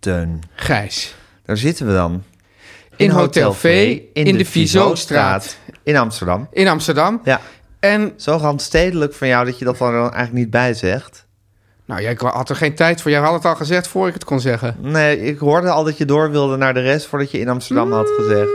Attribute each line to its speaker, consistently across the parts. Speaker 1: Teun,
Speaker 2: Gijs.
Speaker 1: daar zitten we dan.
Speaker 2: In Hotel V, in de Vizostraat.
Speaker 1: In Amsterdam.
Speaker 2: In Amsterdam.
Speaker 1: Ja,
Speaker 2: En,
Speaker 1: zo randstedelijk van jou dat je dat dan eigenlijk niet bij zegt.
Speaker 2: nou ja, ik had er geen tijd voor. Jij had het al gezegd voor ik het kon zeggen.
Speaker 1: Nee, ik hoorde al dat je door wilde naar de rest voordat je in Amsterdam had gezegd.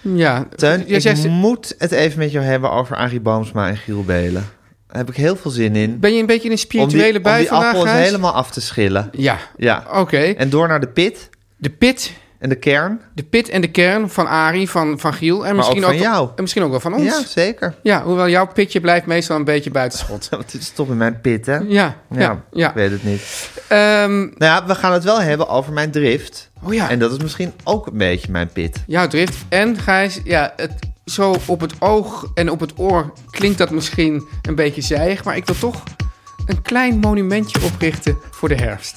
Speaker 2: Ja.
Speaker 1: Teun,
Speaker 2: Jij
Speaker 1: ik
Speaker 2: Mm. zegt,
Speaker 1: moet het even met jou hebben over Arie Boomsma en Giel Belen. Daar heb ik heel veel zin in.
Speaker 2: ben je een beetje in een
Speaker 1: Om die,
Speaker 2: spirituele bui
Speaker 1: om die
Speaker 2: vandaag,
Speaker 1: appel eens
Speaker 2: Gijs?
Speaker 1: helemaal af te schillen.
Speaker 2: Ja.
Speaker 1: Ja.
Speaker 2: Oké.
Speaker 1: En door naar de pit
Speaker 2: De pit.
Speaker 1: en de kern.
Speaker 2: De pit en de kern van Arie, van, van Giel. En misschien
Speaker 1: ook van jou.
Speaker 2: En misschien ook wel van ons.
Speaker 1: Ja, zeker.
Speaker 2: Ja, hoewel jouw pitje blijft meestal een beetje buitenschot.
Speaker 1: Want het is toch in mijn pit, hè?
Speaker 2: Ja, ja, ja.
Speaker 1: Ik weet het niet.
Speaker 2: Ehm,
Speaker 1: Nou ja, we gaan het wel hebben over mijn drift.
Speaker 2: Oh ja.
Speaker 1: En dat is misschien ook een beetje mijn pit.
Speaker 2: jouw drift. En Gijs, ja, het, zo op het oog en op het oor klinkt dat misschien een beetje zijig. Maar ik wil toch een klein monumentje oprichten voor de herfst.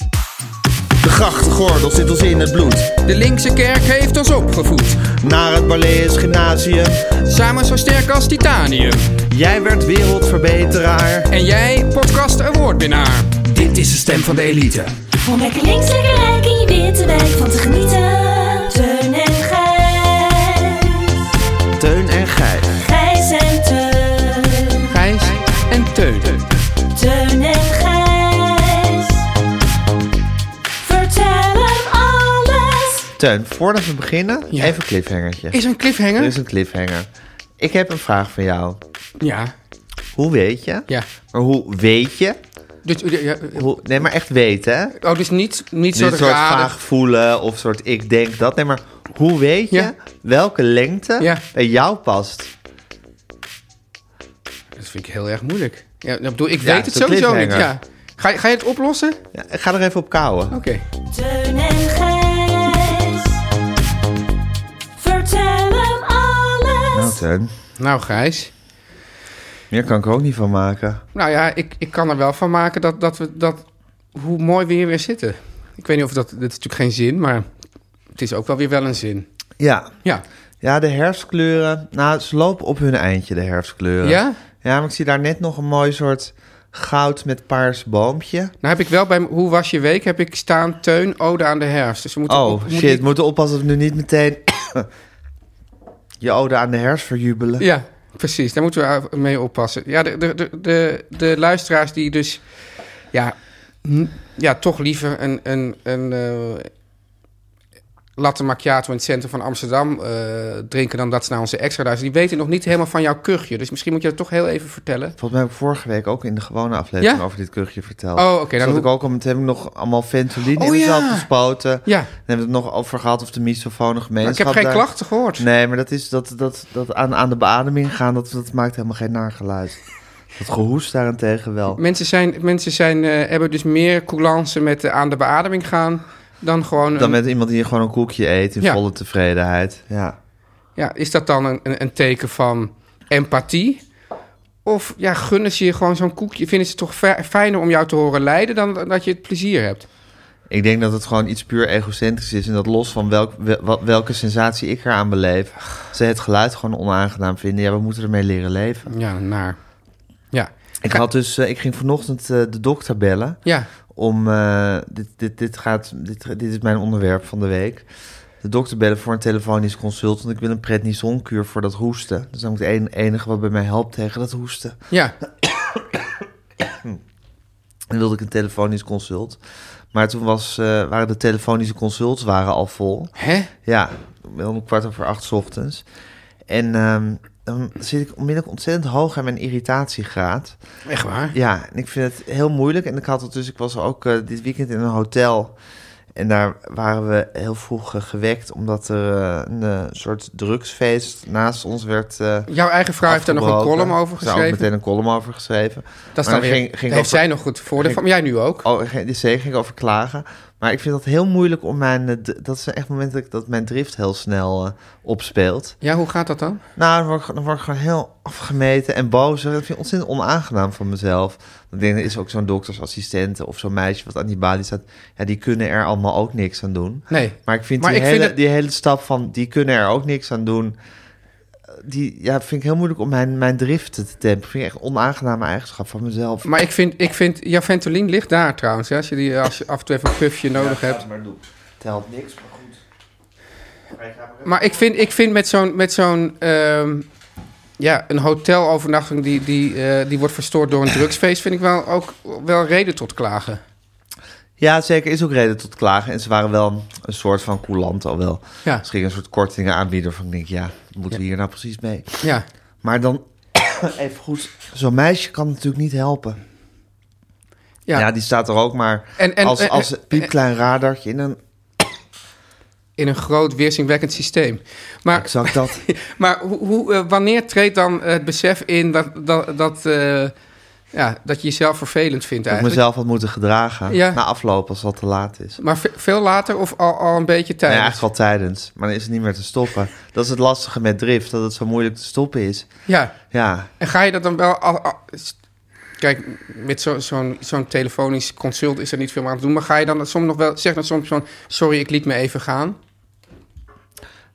Speaker 3: De grachtengordel zit ons in het bloed.
Speaker 2: De linkse kerk heeft ons opgevoed.
Speaker 3: Naar het Balees Gymnasium.
Speaker 2: Samen zo sterk als titanium.
Speaker 3: Jij werd wereldverbeteraar.
Speaker 2: En jij, podcast awardwinnaar.
Speaker 3: Dit is de stem van de elite.
Speaker 4: Om lekker links, lekker rijk in je witte wijk van te genieten. Teun en Gijs.
Speaker 1: Teun en Gijs.
Speaker 4: Gijs en Teun.
Speaker 2: Gijs en Teun.
Speaker 4: Teun en Gijs. Vertel hem alles.
Speaker 1: Teun, voordat we beginnen,
Speaker 2: Ja.
Speaker 1: even een cliffhangertje.
Speaker 2: Is er een
Speaker 1: Er
Speaker 2: cliffhanger?
Speaker 1: is een cliffhanger. Ik heb een vraag van jou.
Speaker 2: Ja,
Speaker 1: Hoe weet je?
Speaker 2: ja.
Speaker 1: Maar hoe weet je?
Speaker 2: Dus, ja,
Speaker 1: Hoe, nee, maar echt weten, hè?
Speaker 2: oh, dus niet, niet
Speaker 1: Niet
Speaker 2: zo
Speaker 1: een soort
Speaker 2: raden.
Speaker 1: vaag voelen of soort ik denk dat. Nee, maar hoe weet je
Speaker 2: Ja.
Speaker 1: welke lengte
Speaker 2: Ja.
Speaker 1: bij jou past?
Speaker 2: Dat vind ik heel erg moeilijk. Ja, nou, ik bedoel, ik
Speaker 1: Ja, het
Speaker 2: weet het
Speaker 1: is een
Speaker 2: sowieso niet. Ja.
Speaker 1: cliffhanger.
Speaker 2: Ga, je- ga je het oplossen? Oké.
Speaker 1: Ja, ik ga er even op kouwen.
Speaker 4: Teun en Gijs. Vertel hem
Speaker 1: Nou,
Speaker 4: alles.
Speaker 1: Teun,
Speaker 2: Nou, Gijs.
Speaker 1: meer kan ik er ook niet van maken.
Speaker 2: Nou ja, ik, ik kan er wel van maken dat, dat we dat. Hoe mooi we hier weer zitten. Ik weet niet of dat. Dit is natuurlijk geen zin, maar het is ook wel weer wel een zin.
Speaker 1: Ja.
Speaker 2: Ja.
Speaker 1: Ja, de herfstkleuren. Nou, ze lopen op hun eindje, de herfstkleuren.
Speaker 2: Ja?
Speaker 1: Ja, maar ik zie daar net nog een mooi soort goud met paars boompje.
Speaker 2: Nou heb ik wel bij Hoe was je week? Heb ik staan Teun Ode aan de herfst. Dus we moeten
Speaker 1: Oh,
Speaker 2: op- we
Speaker 1: shit.
Speaker 2: moeten-
Speaker 1: We moeten oppassen dat we nu niet meteen je ode aan de herfst verjubelen.
Speaker 2: Ja, precies. Daar moeten we mee oppassen. Ja, de, de, de, de, de luisteraars die dus... Ja, n- ja toch liever een, een, een eh, latte macchiato in het centrum van Amsterdam eh, drinken... dan dat ze naar onze extra luisteren. Die weten nog niet helemaal van jouw kuchje. Dus misschien moet je dat toch heel even vertellen.
Speaker 1: Volgens mij heb ik vorige week ook in de gewone aflevering
Speaker 2: Ja?
Speaker 1: over dit kuchje verteld.
Speaker 2: Oh, oké,
Speaker 1: Dus
Speaker 2: dan
Speaker 1: had ik
Speaker 2: hoe-
Speaker 1: ook al meteen nog allemaal fentanyl in
Speaker 2: Oh,
Speaker 1: mezelf
Speaker 2: ja.
Speaker 1: gespoten. Dan
Speaker 2: Ja,
Speaker 1: hebben we het nog over gehad of de misofone
Speaker 2: maar
Speaker 1: gemeenschap
Speaker 2: ik heb geen
Speaker 1: daar-
Speaker 2: klachten gehoord.
Speaker 1: Nee, maar dat is dat, dat, dat aan, aan de beademing gaan, dat, dat maakt helemaal geen naar geluid. Dat gehoest daarentegen wel.
Speaker 2: Mensen, zijn, mensen zijn, eh, hebben dus meer coulance met eh, aan de beademing gaan... dan gewoon een-
Speaker 1: Dan met iemand die gewoon een koekje eet in
Speaker 2: Ja.
Speaker 1: volle tevredenheid. Ja.
Speaker 2: Ja, is dat dan een, een, een teken van empathie? Of ja, gunnen ze je gewoon zo'n koekje? Vinden ze het toch fi- fijner om jou te horen lijden dan dat je het plezier hebt?
Speaker 1: Ik denk dat het gewoon iets puur egocentrisch is. En dat los van welk, wel- wat- welke sensatie ik eraan beleef, ze het geluid gewoon onaangenaam vinden. Ja, we moeten ermee leren leven.
Speaker 2: Ja, naar. Ja,
Speaker 1: Ik, had dus, eh, ik ging vanochtend eh, de dokter bellen.
Speaker 2: ja.
Speaker 1: om. eh, dit, dit, dit, gaat, dit, dit is mijn onderwerp van de week. de dokter bellen voor een telefonisch consult. Want ik wil een prednisonkuur voor dat hoesten. Dus dan moet het enige wat bij mij helpt tegen dat hoesten.
Speaker 2: Ja,
Speaker 1: En wilde ik een telefonisch consult. Maar toen was, eh, waren de telefonische consults waren al vol.
Speaker 2: hè?
Speaker 1: Ja, om kwart over acht 's ochtends. En ehm, dan zit ik onmiddellijk ontzettend hoog aan mijn irritatiegraad.
Speaker 2: Echt waar?
Speaker 1: Ja, en ik vind het heel moeilijk. En ik had het dus, ik was ook eh, dit weekend in een hotel. En daar waren we heel vroeg eh, gewekt, omdat er eh, een eh, soort drugsfeest naast ons werd. eh
Speaker 2: Jouw eigen vrouw heeft daar nog een
Speaker 1: afgebroken.
Speaker 2: column over
Speaker 1: Ze had ook
Speaker 2: geschreven.
Speaker 1: meteen een column over geschreven.
Speaker 2: Dat is
Speaker 1: Maar
Speaker 2: dan weer,
Speaker 1: ging- ging
Speaker 2: daar
Speaker 1: over-
Speaker 2: heeft zij nog goed voordeel van. Maar jij nu ook.
Speaker 1: Oh, geen- die zee ging ik over klagen. Maar ik vind dat heel moeilijk om mijn... eh, d- Dat is echt moment dat, ik- dat mijn drift heel snel eh, opspeelt.
Speaker 2: Ja, hoe gaat dat dan?
Speaker 1: Nou, dan word, ik, dan word ik gewoon heel afgemeten en boos. Dat vind ik ontzettend onaangenaam van mezelf. Dan denk ik, er is ook zo'n doktersassistent of zo'n meisje wat aan die balie staat. Ja, die kunnen er allemaal ook niks aan doen.
Speaker 2: Nee.
Speaker 1: Maar ik vind,
Speaker 2: Maar
Speaker 1: die,
Speaker 2: ik
Speaker 1: hele,
Speaker 2: vind het-
Speaker 1: die hele stap van die kunnen er ook niks aan doen... eh, Die ja, vind ik heel moeilijk om mijn, mijn driften te temperen. Vind ik echt een onaangename eigenschap van mezelf.
Speaker 2: Maar ik vind, ik vind, ja, Ventoline ligt daar trouwens. hè. Als je, die, als je af en toe even een pufje nodig hebt.
Speaker 1: maar doe. Telt niks, maar goed.
Speaker 2: Maar ik vind, ik vind met zo'n, met zo'n ehm, ja, een hotelovernachting die, die, eh, die wordt verstoord door een drugsfeest, vind ik wel ook wel reden tot klagen.
Speaker 1: Ja, zeker. Is ook reden tot klagen. En ze waren wel een soort van coulant al wel.
Speaker 2: Ja,
Speaker 1: Ze gingen een soort kortingen aanbieden van ik denk, ja, wat moeten we hier nou precies mee?
Speaker 2: ja.
Speaker 1: Maar dan, even goed, zo'n meisje kan natuurlijk niet helpen. Ja,
Speaker 2: ja.
Speaker 1: die staat er ook maar
Speaker 2: En- en-
Speaker 1: als,
Speaker 2: en-
Speaker 1: als een piepklein radartje in een...
Speaker 2: in een groot weerzinwekkend systeem. Maar,
Speaker 1: Exact dat.
Speaker 2: maar hoe, hoe, eh, wanneer treedt dan het besef in dat, dat, dat, eh, ja, dat je jezelf vervelend vindt
Speaker 1: dat ik
Speaker 2: eigenlijk?
Speaker 1: mezelf had moeten gedragen
Speaker 2: Ja.
Speaker 1: na afloop als dat te laat is.
Speaker 2: Maar ve- veel later of al, al een beetje
Speaker 1: Nee,
Speaker 2: tijdens?
Speaker 1: eigenlijk al tijdens, maar dan is het niet meer te stoppen. Dat is het lastige met drift, dat het zo moeilijk te stoppen is.
Speaker 2: ja.
Speaker 1: Ja,
Speaker 2: En ga je dat dan wel... Al, al- s- kijk, met zo- zo'n zo'n telefonisch consult is er niet veel meer aan te doen. Maar ga je dan soms nog wel... Zeg dan soms van... Sorry, ik liet me even gaan.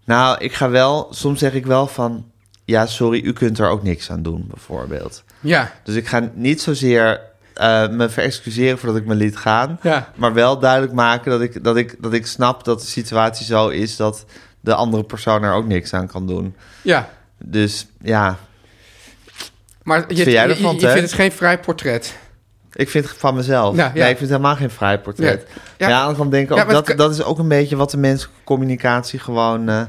Speaker 1: Nou, ik ga wel, soms zeg ik wel van, ja, sorry, u kunt er ook niks aan doen, bijvoorbeeld.
Speaker 2: Ja.
Speaker 1: Dus ik ga niet zozeer eh, me verexcuseren voordat ik me liet gaan,
Speaker 2: Ja.
Speaker 1: maar wel duidelijk maken dat ik, dat, ik, dat ik snap dat de situatie zo is dat de andere persoon er ook niks aan kan doen.
Speaker 2: Ja.
Speaker 1: Dus ja,
Speaker 2: Maar je,
Speaker 1: vind jij
Speaker 2: je,
Speaker 1: ervan,
Speaker 2: je
Speaker 1: Teun?
Speaker 2: vindt het geen vrij portret.
Speaker 1: ik vind het van mezelf.
Speaker 2: Nou, ja.
Speaker 1: Nee, ik vind het helemaal geen fraai portret.
Speaker 2: Ja.
Speaker 1: Maar Ja, aan de andere kant denk ik ook,
Speaker 2: Ja, maar het
Speaker 1: dat, dat is ook een beetje wat de menselijke communicatie gewoon eh,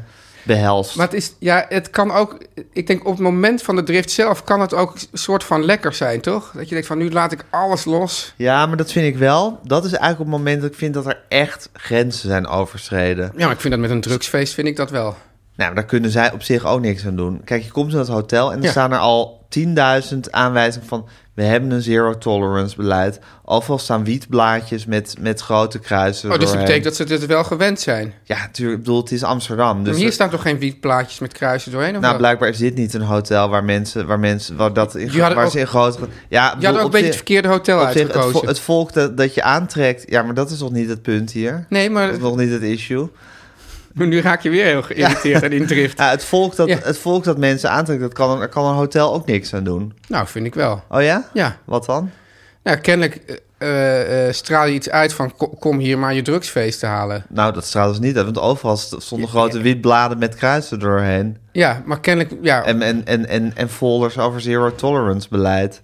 Speaker 1: behelst.
Speaker 2: Maar het is... Ja, het kan ook... Ik denk op het moment van de drift zelf... kan het ook een soort van lekker zijn, toch? Dat je denkt van... Nu laat ik alles los.
Speaker 1: Ja, maar dat vind ik wel. Dat is eigenlijk op het moment dat ik vind dat er echt grenzen zijn overschreden.
Speaker 2: Ja, maar ik vind dat met een drugsfeest vind ik dat wel. Oh,
Speaker 1: Nou, maar daar kunnen zij op zich ook niks aan doen. Kijk, je komt in dat hotel en er
Speaker 2: Ja.
Speaker 1: staan er al 10.000 aanwijzingen van... we hebben een zero tolerance beleid. Overal staan wietblaadjes met, met grote kruisen
Speaker 2: Oh, dus dat
Speaker 1: doorheen.
Speaker 2: betekent dat ze dit wel gewend zijn.
Speaker 1: Ja, natuurlijk. Ik bedoel, het is Amsterdam. Dus
Speaker 2: maar hier
Speaker 1: er-
Speaker 2: staan toch geen wietplaatjes met kruisen doorheen? Of
Speaker 1: nou,
Speaker 2: wel?
Speaker 1: blijkbaar is dit niet een hotel waar mensen... waar, mensen, waar, dat in,
Speaker 2: Die hadden
Speaker 1: waar
Speaker 2: ook-
Speaker 1: ze in grote... Ja, ik
Speaker 2: Je had
Speaker 1: bedoel,
Speaker 2: ook een
Speaker 1: op
Speaker 2: beetje het
Speaker 1: zich-
Speaker 2: verkeerde hotel
Speaker 1: op zich, het,
Speaker 2: uitgekozen.
Speaker 1: vo- het volk dat, dat je aantrekt... Ja, maar dat is nog niet het punt hier.
Speaker 2: nee,
Speaker 1: Dat
Speaker 2: maar
Speaker 1: is nog niet het issue.
Speaker 2: nu raak je weer heel geïrriteerd en in drift.
Speaker 1: Ja, het, volk dat,
Speaker 2: Ja.
Speaker 1: het volk dat mensen aantrekt, dat kan, daar kan een hotel ook niks aan doen.
Speaker 2: Nou, vind ik wel.
Speaker 1: Oh ja?
Speaker 2: Ja,
Speaker 1: Wat dan?
Speaker 2: nou, kennelijk eh, eh, eh, straal je iets uit van ko- kom hier maar je drugsfeest te halen.
Speaker 1: Nou, dat straalt dus niet uit, want overal st- stonden
Speaker 2: Ja,
Speaker 1: grote witbladen met kruisen doorheen.
Speaker 2: Ja, maar kennelijk, ja.
Speaker 1: En, en, en, en, en folders over zero tolerance beleid.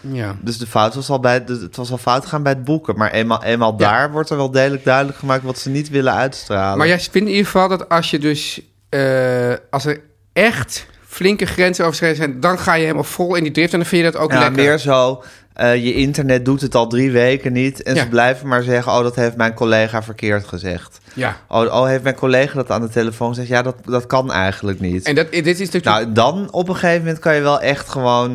Speaker 2: ja.
Speaker 1: Dus de fout was al, bij, de- het was al fout gaan bij het boeken. Maar eenmaal, eenmaal daar wordt er wel degelijk duidelijk gemaakt wat ze niet willen uitstralen.
Speaker 2: Maar jij vindt in ieder geval dat als je dus, eh, als er echt flinke grenzen overschreden zijn, dan ga je helemaal vol in die drift en dan vind je dat ook
Speaker 1: ja,
Speaker 2: lekker.
Speaker 1: meer zo, eh, je internet doet het al drie weken niet. En
Speaker 2: Ja.
Speaker 1: ze blijven maar zeggen, oh, dat heeft mijn collega verkeerd gezegd.
Speaker 2: Ja.
Speaker 1: Oh, oh, heeft mijn collega dat aan de telefoon gezegd? Ja, dat, dat kan eigenlijk niet.
Speaker 2: En dat, dit is natuurlijk...
Speaker 1: Nou, dan op een gegeven moment kan je wel echt gewoon...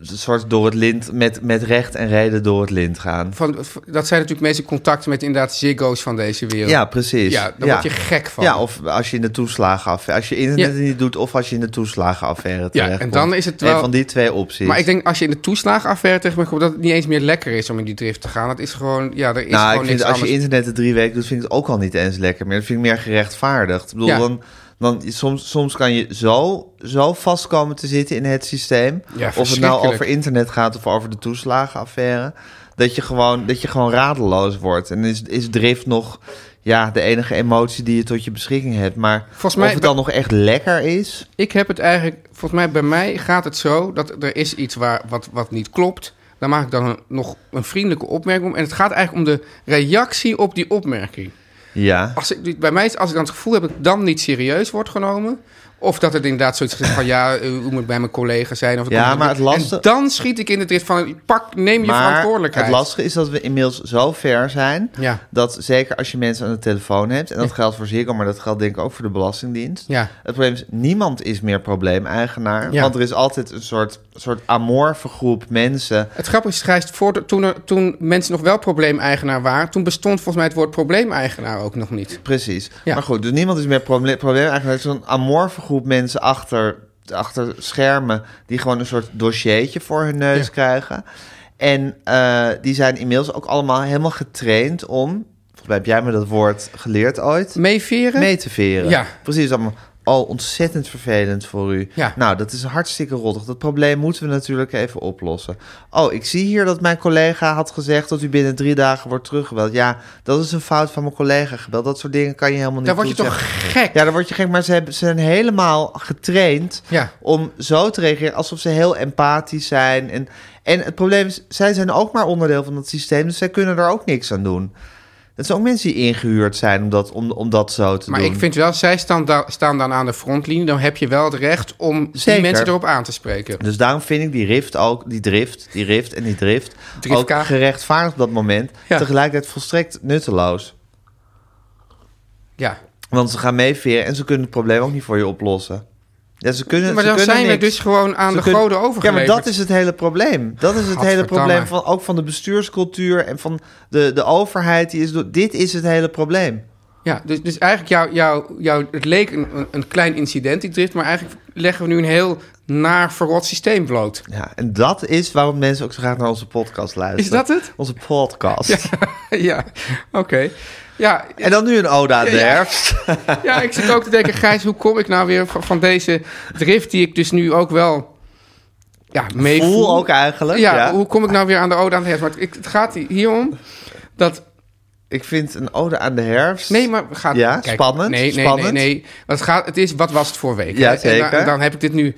Speaker 1: een soort door het lint, met, met recht en reden door het lint gaan.
Speaker 2: van, dat zijn natuurlijk mensen in contact met inderdaad ziggo's van deze wereld.
Speaker 1: Ja, precies.
Speaker 2: Ja, daar word je gek van.
Speaker 1: Ja, of als je in de toeslagenaffaire... Als je internet
Speaker 2: Ja.
Speaker 1: niet doet of als je in de toeslagenaffaire terechtkomt.
Speaker 2: en dan is het
Speaker 1: Een
Speaker 2: wel-
Speaker 1: van die twee opties.
Speaker 2: Maar ik denk als je in de toeslagenaffaire tegen me komt, dat het niet eens meer lekker is om in die drift te gaan. Dat is gewoon, ja, er is
Speaker 1: nou,
Speaker 2: gewoon
Speaker 1: ik vind,
Speaker 2: niks
Speaker 1: als je
Speaker 2: anders.
Speaker 1: internet de drie weken doet, vind ik het ook al niet eens lekker meer. Dat vind ik meer gerechtvaardigd. Ik bedoel,
Speaker 2: Ja.
Speaker 1: dan, dan, soms, soms kan je zo, zo vast komen te zitten in het systeem.
Speaker 2: Ja,
Speaker 1: of het nou
Speaker 2: verschrikkelijk.
Speaker 1: over internet gaat of over de toeslagenaffaire. Dat je gewoon, dat je gewoon radeloos wordt. En is, is drift nog... ja, de enige emotie die je tot je beschikking hebt. Maar
Speaker 2: Volgens mij
Speaker 1: of het dan nog echt lekker is...
Speaker 2: Ik heb het eigenlijk, volgens mij bij mij gaat het zo dat er is iets waar, wat, wat niet klopt. Daar maak ik dan een- nog een vriendelijke opmerking om. En het gaat eigenlijk om de reactie op die opmerking.
Speaker 1: Ja,
Speaker 2: Als ik, bij mij is, als ik dan het gevoel heb dat ik dan niet serieus wordt genomen. Of dat het inderdaad zoiets is van ja, eh, hoe moet ik bij mijn collega zijn. Of
Speaker 1: Ja,
Speaker 2: komt er-
Speaker 1: maar het lastige-
Speaker 2: En dan schiet ik in het drift van pak, neem je
Speaker 1: maar
Speaker 2: verantwoordelijkheid.
Speaker 1: het lastige is dat we inmiddels zo ver zijn...
Speaker 2: Ja.
Speaker 1: dat zeker als je mensen aan de telefoon hebt... en dat geldt voor Ziggo, maar dat geldt denk ik ook voor de Belastingdienst...
Speaker 2: Ja.
Speaker 1: het probleem is, niemand is meer probleemeigenaar...
Speaker 2: Ja.
Speaker 1: want er is altijd een soort, soort amorfe groep mensen...
Speaker 2: Het grappige is, Gijs, voordat- toen, er, toen mensen nog wel probleemeigenaar waren... toen bestond volgens mij het woord probleemeigenaar ook nog niet.
Speaker 1: Precies.
Speaker 2: Ja.
Speaker 1: Maar goed, dus niemand is meer probleem. probleem eigenlijk Er is zo'n amorfe groep mensen achter, achter schermen... die gewoon een soort dossiertje voor hun neus
Speaker 2: Ja.
Speaker 1: krijgen. En eh, die zijn inmiddels ook allemaal helemaal getraind om... volgens mij heb jij me dat woord geleerd ooit...
Speaker 2: Meeveren?
Speaker 1: mee te veren.
Speaker 2: Ja.
Speaker 1: Precies, allemaal... Oh, ontzettend vervelend voor u.
Speaker 2: Ja.
Speaker 1: Nou, dat is hartstikke rottig. Dat probleem moeten we natuurlijk even oplossen. Oh, ik zie hier dat mijn collega had gezegd dat u binnen drie dagen wordt teruggebeld. Ja, dat is een fout van mijn collega gebeld. Dat soort dingen kan je helemaal niet
Speaker 2: Daar word je toch
Speaker 1: toezeggen.
Speaker 2: gek?
Speaker 1: Ja, daar word je gek. Maar ze, hebben, ze zijn helemaal getraind
Speaker 2: Ja.
Speaker 1: om zo te reageren alsof ze heel empathisch zijn. En, en het probleem is, zij zijn ook maar onderdeel van dat systeem. Dus zij kunnen er ook niks aan doen. Dat zijn ook mensen die ingehuurd zijn om dat, om, om dat zo te
Speaker 2: Maar
Speaker 1: doen.
Speaker 2: ik vind wel, zij staan, da- staan dan aan de frontlinie. Dan heb je wel het recht om
Speaker 1: Zeker.
Speaker 2: die mensen erop aan te spreken.
Speaker 1: Dus daarom vind ik die rift ook, die drift, die rift en die drift,
Speaker 2: Driftka.
Speaker 1: ook gerechtvaardigd op dat moment.
Speaker 2: Ja.
Speaker 1: Tegelijkertijd volstrekt nutteloos.
Speaker 2: Ja.
Speaker 1: Want ze gaan meeveren en ze kunnen het probleem ook niet voor je oplossen. Ja, ze kunnen,
Speaker 2: Maar
Speaker 1: ze
Speaker 2: dan
Speaker 1: kunnen
Speaker 2: zijn we
Speaker 1: niks.
Speaker 2: dus gewoon aan
Speaker 1: Ze
Speaker 2: de
Speaker 1: kunnen-
Speaker 2: goden overgeleverd.
Speaker 1: Ja, maar dat is het hele probleem. Dat is het hele
Speaker 2: Gadverdamme.
Speaker 1: probleem van, ook van de bestuurscultuur en van de, de overheid. Die is, door- dit is het hele probleem.
Speaker 2: Ja, dus, dus eigenlijk jouw jouw jouw het leek een, een- een klein incident, die drift. Maar eigenlijk leggen we nu een heel naar verrot systeem bloot.
Speaker 1: Ja, en dat is waarom mensen ook zo graag naar onze podcast luisteren.
Speaker 2: Is dat het?
Speaker 1: Onze podcast.
Speaker 2: ja, oké. Ja,
Speaker 1: En dan nu een Oda aan de
Speaker 2: Ja, ja.
Speaker 1: herfst.
Speaker 2: Ja, ik zit ook te denken, Gijs, hoe kom ik nou weer van, van deze drift die ik dus nu ook wel ja, mee
Speaker 1: Voel ook eigenlijk.
Speaker 2: Ja,
Speaker 1: ja.
Speaker 2: hoe kom ik nou weer aan de ode aan de herfst? Maar ik, het gaat hier om dat...
Speaker 1: Ik vind een ode aan de herfst.
Speaker 2: Nee, maar we gaan...
Speaker 1: Ja, spannend,
Speaker 2: Nee, nee,
Speaker 1: spannend.
Speaker 2: nee. nee. Want het, gaat, het is wat was het voor week.
Speaker 1: Ja,
Speaker 2: hè? En dan- En,
Speaker 1: zeker.
Speaker 2: dan heb ik dit nu...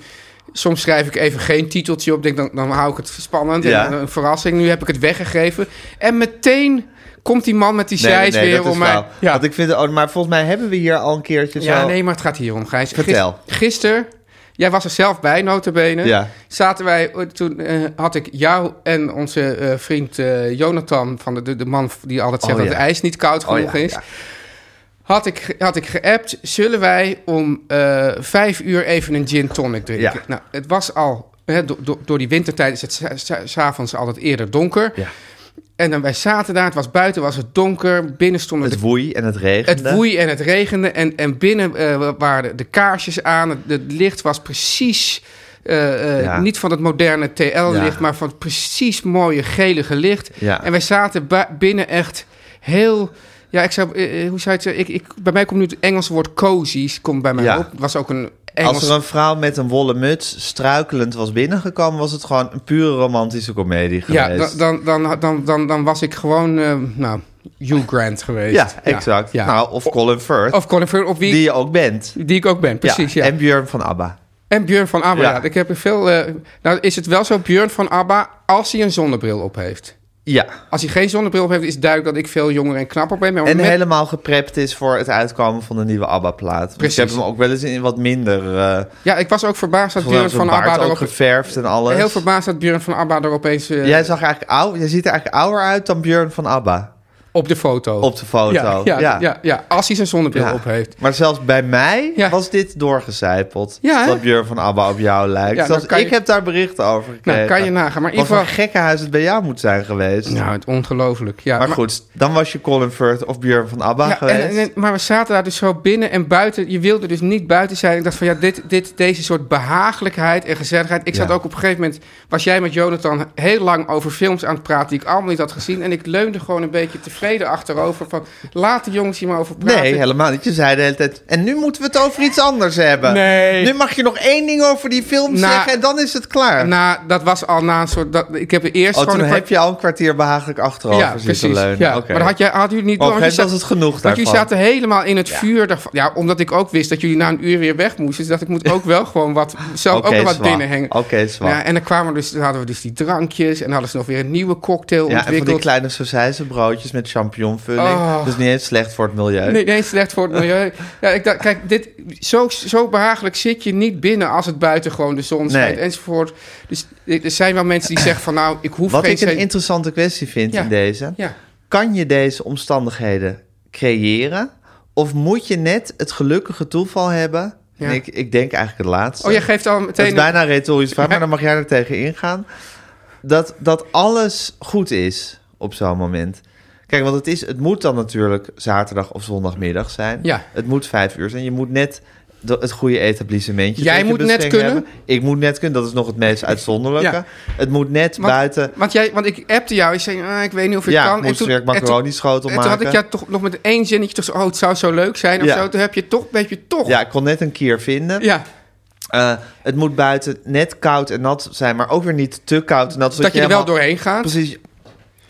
Speaker 2: Soms schrijf ik even geen titeltje op. Denk, dan, dan hou ik het spannend
Speaker 1: Ja.
Speaker 2: en een verrassing. Nu heb ik het weggegeven. En meteen komt die man met die
Speaker 1: Nee,
Speaker 2: zeis
Speaker 1: nee,
Speaker 2: weer
Speaker 1: dat is
Speaker 2: om mij...
Speaker 1: flauw. Want ik vind de ode, maar volgens mij hebben we hier al een keertje
Speaker 2: Ja,
Speaker 1: zo.
Speaker 2: nee, maar het gaat hier om, Gijs.
Speaker 1: Vertel.
Speaker 2: Gisteren, jij was er zelf bij, notabene.
Speaker 1: Ja.
Speaker 2: Zaten wij, toen eh, had ik jou en onze eh, vriend eh, Jonathan... Van de, de, de man die altijd zegt
Speaker 1: Oh,
Speaker 2: dat
Speaker 1: ja.
Speaker 2: het ijs niet koud
Speaker 1: Oh,
Speaker 2: genoeg
Speaker 1: ja,
Speaker 2: is...
Speaker 1: ja.
Speaker 2: Had ik, ge- had ik geappt, zullen wij om eh, vijf uur even een gin tonic drinken?
Speaker 1: Ja.
Speaker 2: Nou, het was al, hè, do- do- door die wintertijd is het s- s- s'avonds altijd eerder donker.
Speaker 1: Ja.
Speaker 2: En dan wij zaten daar, het was buiten, was het donker, binnen stonden de
Speaker 1: Het woei en het regende.
Speaker 2: het woei en het regende. En, en binnen eh, waren de kaarsjes aan. Het, het licht was precies. eh, eh,
Speaker 1: Ja.
Speaker 2: Niet van het moderne TL-licht,
Speaker 1: Ja.
Speaker 2: maar van het precies mooie gelige licht.
Speaker 1: Ja.
Speaker 2: En wij zaten ba- binnen echt heel. Ja, ik zou. eh, eh, hoe zou je het zeggen? Ik, ik, bij mij komt nu het Engelse woord cozy. Komt bij mij
Speaker 1: Ja.
Speaker 2: op. Het was ook een Engels.
Speaker 1: Als er een vrouw met een wollen muts struikelend was binnengekomen, was het gewoon een pure romantische komedie
Speaker 2: ja,
Speaker 1: geweest.
Speaker 2: dan, dan, dan, dan, dan, dan was ik gewoon. eh, nou, Hugh Grant geweest.
Speaker 1: ja exact.
Speaker 2: ja.
Speaker 1: Nou, of Colin Firth,
Speaker 2: Of Colin Firth, op wie
Speaker 1: die je ook bent.
Speaker 2: die ik ook ben, precies. Ja.
Speaker 1: En Björn van ABBA.
Speaker 2: En Björn van ABBA.
Speaker 1: Ja.
Speaker 2: ja. Ik heb er veel. eh, nou, is het wel zo, Björn van ABBA, als hij een zonnebril op heeft.
Speaker 1: Ja,
Speaker 2: Als hij geen zonnebril op heeft, is duidelijk dat ik veel jonger en knapper ben. Maar
Speaker 1: en
Speaker 2: met-
Speaker 1: helemaal geprept is voor het uitkomen van de nieuwe ABBA-plaat. Want
Speaker 2: Precies.
Speaker 1: Ik heb hem ook wel eens in wat minder... eh
Speaker 2: Ja, ik was ook verbaasd dat
Speaker 1: gewoon
Speaker 2: Björn
Speaker 1: van
Speaker 2: van
Speaker 1: baard
Speaker 2: ABBA
Speaker 1: ook
Speaker 2: erop.
Speaker 1: geverfd en alles.
Speaker 2: Heel verbaasd dat Björn van ABBA er opeens eh,
Speaker 1: Jij, zag eigenlijk oud, jij ziet er eigenlijk ouder uit dan Björn van ABBA
Speaker 2: op de foto.
Speaker 1: op de foto.
Speaker 2: Ja, ja, ja. ja, als hij zijn zonnebril
Speaker 1: Ja.
Speaker 2: op heeft.
Speaker 1: Maar zelfs bij mij
Speaker 2: Ja.
Speaker 1: was dit doorgecijpeld.
Speaker 2: Ja, hè?
Speaker 1: dat Björn van Abba op jou lijkt.
Speaker 2: Ja,
Speaker 1: Zelfs
Speaker 2: dan kan
Speaker 1: Ik
Speaker 2: je-
Speaker 1: heb daar berichten over gekregen.
Speaker 2: Nou, kan je nagaan. Maar in
Speaker 1: Wat
Speaker 2: ieder
Speaker 1: voor
Speaker 2: geval.
Speaker 1: gekkenhuis het bij jou moet zijn geweest.
Speaker 2: Nou, het ongelooflijk. Ja,
Speaker 1: maar goed, dan was je Colin Firth of Björn van Abba
Speaker 2: Ja,
Speaker 1: geweest.
Speaker 2: en, en- maar we zaten daar dus zo binnen en buiten. Je wilde dus niet buiten zijn. Ik dacht van ja, dit, dit, deze soort behagelijkheid en gezelligheid. Ik zat
Speaker 1: Ja.
Speaker 2: ook op een gegeven moment, was jij met Jonathan heel lang over films aan het praten die ik allemaal niet had gezien. En ik leunde gewoon een beetje tevreden achterover van... laat de jongens hier maar over praten.
Speaker 1: Nee, helemaal niet. Je zei de hele tijd. En nu moeten we het over iets anders hebben.
Speaker 2: Nee.
Speaker 1: Nu mag je nog één ding over die film
Speaker 2: Nou,
Speaker 1: zeggen en dan is het klaar.
Speaker 2: Na, dat was al na een soort... Dat, ik heb er eerst
Speaker 1: oh,
Speaker 2: gewoon...
Speaker 1: toen
Speaker 2: een paar-
Speaker 1: heb je al een kwartier behagelijk achterover
Speaker 2: ja,
Speaker 1: zitten
Speaker 2: precies.
Speaker 1: leunen.
Speaker 2: Ja,
Speaker 1: Oké. Oh,
Speaker 2: Maar dat had, jij, had u niet
Speaker 1: Maar op
Speaker 2: door.
Speaker 1: een
Speaker 2: want je
Speaker 1: gegeven
Speaker 2: zat-
Speaker 1: moment was het genoeg
Speaker 2: Want jullie
Speaker 1: daarvan.
Speaker 2: zaten helemaal in het vuur daarvan. Ja, omdat ik ook wist dat jullie na een uur weer weg moesten. Dus dacht ik, moet ook wel gewoon wat, zelf
Speaker 1: Oké,
Speaker 2: ook wel wat
Speaker 1: zwak.
Speaker 2: binnen hangen.
Speaker 1: Oké, zwak.
Speaker 2: Ja, en dan kwamen we dus, dan hadden we dus die drankjes. En dan hadden ze nog weer een nieuwe
Speaker 1: Ja,
Speaker 2: cocktail
Speaker 1: en van die
Speaker 2: ontwikkeld.
Speaker 1: kleine saucijzenbroodjes met champignonvulling.
Speaker 2: Oh.
Speaker 1: Dat is niet eens slecht voor het milieu.
Speaker 2: Nee, nee, slecht voor het milieu. Ja, ik dacht, kijk, dit, zo, zo behagelijk zit je niet binnen als het buiten gewoon de zon schijnt
Speaker 1: Nee.
Speaker 2: enzovoort. Dus er zijn wel mensen die zeggen van nou, ik hoef
Speaker 1: Wat
Speaker 2: geen...
Speaker 1: ik een
Speaker 2: zee-
Speaker 1: interessante kwestie vind
Speaker 2: Ja.
Speaker 1: in deze.
Speaker 2: Ja.
Speaker 1: Kan je deze omstandigheden creëren? Of moet je net het gelukkige toeval hebben?
Speaker 2: Ja.
Speaker 1: En ik, ik denk eigenlijk het laatste.
Speaker 2: Oh, jij geeft al
Speaker 1: Dat
Speaker 2: meteen...
Speaker 1: is
Speaker 2: een-
Speaker 1: bijna een retorische vraag,
Speaker 2: Ja.
Speaker 1: maar dan mag jij er tegen ingaan. Dat, dat alles goed is op zo'n moment. Kijk, want het, is, het moet dan natuurlijk zaterdag of zondagmiddag zijn.
Speaker 2: Ja.
Speaker 1: Het moet vijf uur zijn. Je moet net de- het goede etablissementje
Speaker 2: Jij
Speaker 1: tot je
Speaker 2: moet net
Speaker 1: beschikking
Speaker 2: kunnen.
Speaker 1: hebben. Ik moet net kunnen. Dat is nog het meest uitzonderlijke.
Speaker 2: Ja.
Speaker 1: Het moet net
Speaker 2: Want-
Speaker 1: buiten...
Speaker 2: Want, jij, want ik appte jou, ik zei, ah, ik weet niet of ik
Speaker 1: Ja,
Speaker 2: kan.
Speaker 1: moest werk macaroni schotel
Speaker 2: en toen had
Speaker 1: maken.
Speaker 2: ik jou toch nog met één zinnetje tussen, oh, het zou zo leuk zijn of
Speaker 1: Ja.
Speaker 2: zo. Toen heb je toch, heb je toch...
Speaker 1: Ja, ik kon net een keer vinden.
Speaker 2: ja.
Speaker 1: Eh, het moet buiten net koud en nat zijn, maar ook weer niet te koud en nat.
Speaker 2: dat
Speaker 1: zodat
Speaker 2: je er wel
Speaker 1: helemaal-
Speaker 2: doorheen gaat.
Speaker 1: Precies.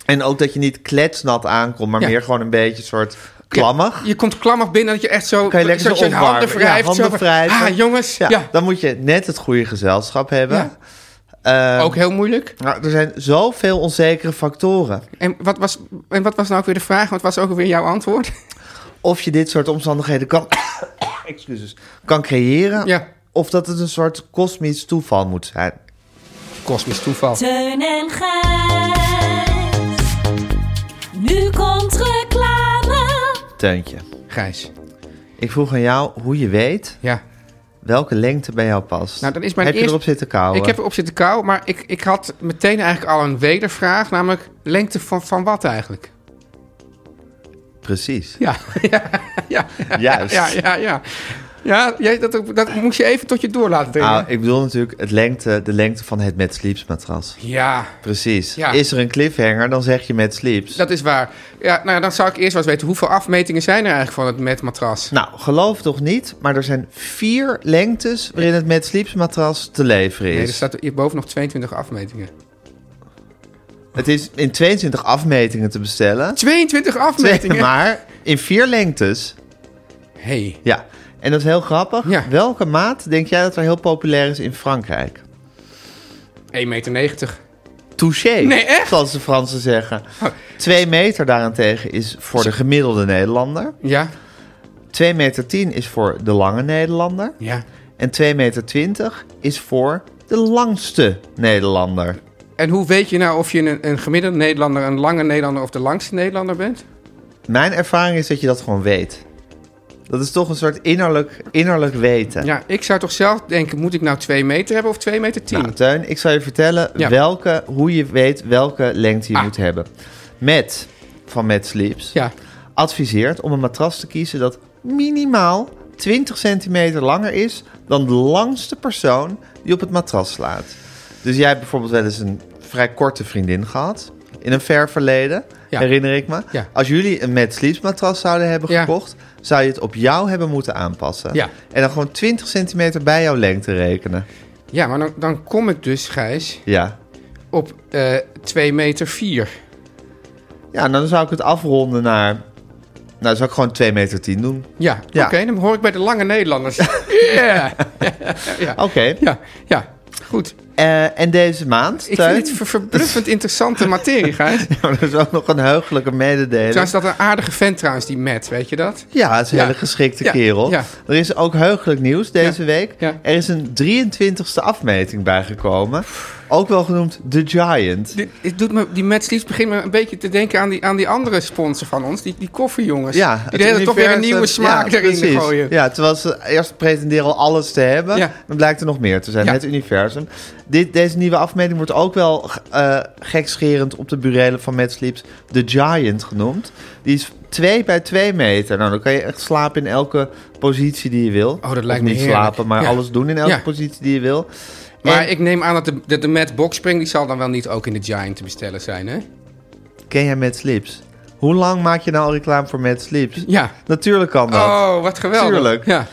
Speaker 1: En ook dat je niet kletsnat aankomt, maar
Speaker 2: Ja.
Speaker 1: meer gewoon een beetje soort klammig.
Speaker 2: Je komt klammig binnen dat je echt zo...
Speaker 1: Kan je lekker
Speaker 2: zodat
Speaker 1: zo
Speaker 2: je handen
Speaker 1: opwarmen. Ja,
Speaker 2: wrijft. zo
Speaker 1: handen
Speaker 2: van,
Speaker 1: wrijven.
Speaker 2: Ah, jongens, ja.
Speaker 1: Dan moet je net het goede gezelschap hebben.
Speaker 2: Ja.
Speaker 1: Eh,
Speaker 2: Ook heel moeilijk.
Speaker 1: nou, er zijn zoveel onzekere factoren.
Speaker 2: En wat, was, en wat was nou ook weer de vraag? Wat was ook weer jouw antwoord?
Speaker 1: Of je dit soort omstandigheden kan, excuses, kan creëren.
Speaker 2: Ja.
Speaker 1: Of dat het een soort kosmisch toeval moet zijn.
Speaker 2: Kosmisch toeval.
Speaker 4: Teun en Gijs. Nu komt reclame.
Speaker 1: Teuntje,
Speaker 2: Gijs.
Speaker 1: ik vroeg aan jou hoe je weet
Speaker 2: Ja.
Speaker 1: welke lengte bij jou past.
Speaker 2: Nou, dat is mijn
Speaker 1: Heb je
Speaker 2: eerste-
Speaker 1: erop zitten kouwen?
Speaker 2: Ik heb erop zitten kou, maar ik, ik had meteen eigenlijk al een wedervraag. Namelijk, lengte van, van wat eigenlijk?
Speaker 1: Precies.
Speaker 2: Ja. ja, ja, ja,
Speaker 1: Juist.
Speaker 2: Ja, ja, ja. Ja, jij, dat, dat moest je even tot je door laten dringen.
Speaker 1: Nou, ik bedoel natuurlijk het lengte, de lengte van het Met Sleeps matras.
Speaker 2: Ja,
Speaker 1: Precies.
Speaker 2: Ja.
Speaker 1: Is er een cliffhanger, dan zeg je met sleeps.
Speaker 2: dat is waar. Ja, nou, ja, dan zou ik eerst wel eens weten, hoeveel afmetingen zijn er eigenlijk van het met matras?
Speaker 1: Nou, geloof toch niet, maar er zijn vier lengtes waarin het met sleeps matras te leveren is.
Speaker 2: Nee, er staat hierboven nog 22 afmetingen.
Speaker 1: Het is in 22 afmetingen te bestellen.
Speaker 2: 22 afmetingen?
Speaker 1: Maar in vier lengtes.
Speaker 2: Hey.
Speaker 1: Ja. En dat is heel grappig.
Speaker 2: Ja.
Speaker 1: Welke maat denk jij dat er heel populair is in Frankrijk?
Speaker 2: 1,90 meter.
Speaker 1: Touché,
Speaker 2: Nee, echt? Oh.
Speaker 1: zoals de Fransen zeggen. Twee meter daarentegen is voor de gemiddelde Nederlander.
Speaker 2: Ja,
Speaker 1: 2,10 meter is voor de lange Nederlander.
Speaker 2: ja.
Speaker 1: En 2,20 meter is voor de langste Nederlander.
Speaker 2: En hoe weet je nou of je een, een gemiddelde Nederlander, een lange Nederlander of de langste Nederlander bent?
Speaker 1: Mijn ervaring is dat je dat gewoon weet. Dat is toch een soort innerlijk, innerlijk weten.
Speaker 2: Ja, ik zou toch zelf denken, moet ik nou 2 meter hebben of 2 meter 10?
Speaker 1: Nou, Teun, ik zal je vertellen
Speaker 2: Ja.
Speaker 1: welke, hoe je weet welke lengte je
Speaker 2: Ah.
Speaker 1: moet hebben. Met van Met Sleeps
Speaker 2: ja,
Speaker 1: adviseert om een matras te kiezen dat minimaal 20 centimeter langer is dan de langste persoon die op het matras slaat. Dus jij hebt bijvoorbeeld wel eens een vrij korte vriendin gehad. In een ver verleden,
Speaker 2: Ja.
Speaker 1: herinner ik me.
Speaker 2: Ja.
Speaker 1: Als jullie een Mad Sleeps matras zouden hebben
Speaker 2: Ja.
Speaker 1: gekocht... zou je het op jou hebben moeten aanpassen.
Speaker 2: Ja.
Speaker 1: En dan gewoon 20 centimeter bij jouw lengte rekenen.
Speaker 2: ja maar dan, dan kom ik dus, Gijs,
Speaker 1: Ja.
Speaker 2: op eh 2 meter 4.
Speaker 1: Ja, nou, dan zou ik het afronden naar... Nou, dan zou ik gewoon 2 meter 10 doen.
Speaker 2: Ja,
Speaker 1: Ja.
Speaker 2: oké, dan hoor ik bij de lange Nederlanders. Ja,
Speaker 1: Oké.
Speaker 2: ja, ja, goed.
Speaker 1: Eh, en deze maand,
Speaker 2: Ik
Speaker 1: Teun?
Speaker 2: vind dit ver- verbluffend interessante materie, Gijs.
Speaker 1: Ja, maar Oh, dat is ook nog een heugelijke mededeling.
Speaker 2: Trouwens, dat een aardige vent trouwens, die Matt, weet je dat?
Speaker 1: Ja, het is een
Speaker 2: Ja.
Speaker 1: hele geschikte
Speaker 2: Ja,
Speaker 1: kerel.
Speaker 2: ja.
Speaker 1: Er is ook heugelijk nieuws deze
Speaker 2: Ja,
Speaker 1: week.
Speaker 2: ja.
Speaker 1: Er is een 23e afmeting bijgekomen. Ook wel genoemd The Giant.
Speaker 2: Dit, het doet me, die Mad Sleeps begint me een beetje te denken aan die, aan die andere sponsor van ons, die, die koffiejongens.
Speaker 1: Ja, het
Speaker 2: Dus die deden toch weer een
Speaker 1: universum-
Speaker 2: nieuwe smaak
Speaker 1: ja,
Speaker 2: erin te
Speaker 1: precies.
Speaker 2: gooien.
Speaker 1: Ja, terwijl ze eerst pretenderen al alles te hebben.
Speaker 2: Ja.
Speaker 1: Dan blijkt er nog meer te zijn.
Speaker 2: Ja.
Speaker 1: Het universum. Dit, deze nieuwe afmeting wordt ook wel eh gekscherend op de burelen van Mad Sleeps The Giant genoemd. Die is 2 bij 2 meter. Nou, dan kan je echt slapen in elke positie die je wil.
Speaker 2: Oh, dat
Speaker 1: Of
Speaker 2: lijkt me
Speaker 1: niet
Speaker 2: heerlijk.
Speaker 1: slapen, maar
Speaker 2: Ja.
Speaker 1: alles doen in elke
Speaker 2: Ja.
Speaker 1: positie die je wil.
Speaker 2: Maar
Speaker 1: En-
Speaker 2: ik neem aan dat de, dat de Mad Boxspring, die zal dan wel niet ook in de Giant te bestellen zijn, hè?
Speaker 1: Ken jij Mad Sleeps? Hoe lang maak je nou al reclame voor Mad Sleeps?
Speaker 2: Ja.
Speaker 1: Natuurlijk kan dat.
Speaker 2: Oh, wat geweldig.
Speaker 1: Tuurlijk.
Speaker 2: Ja.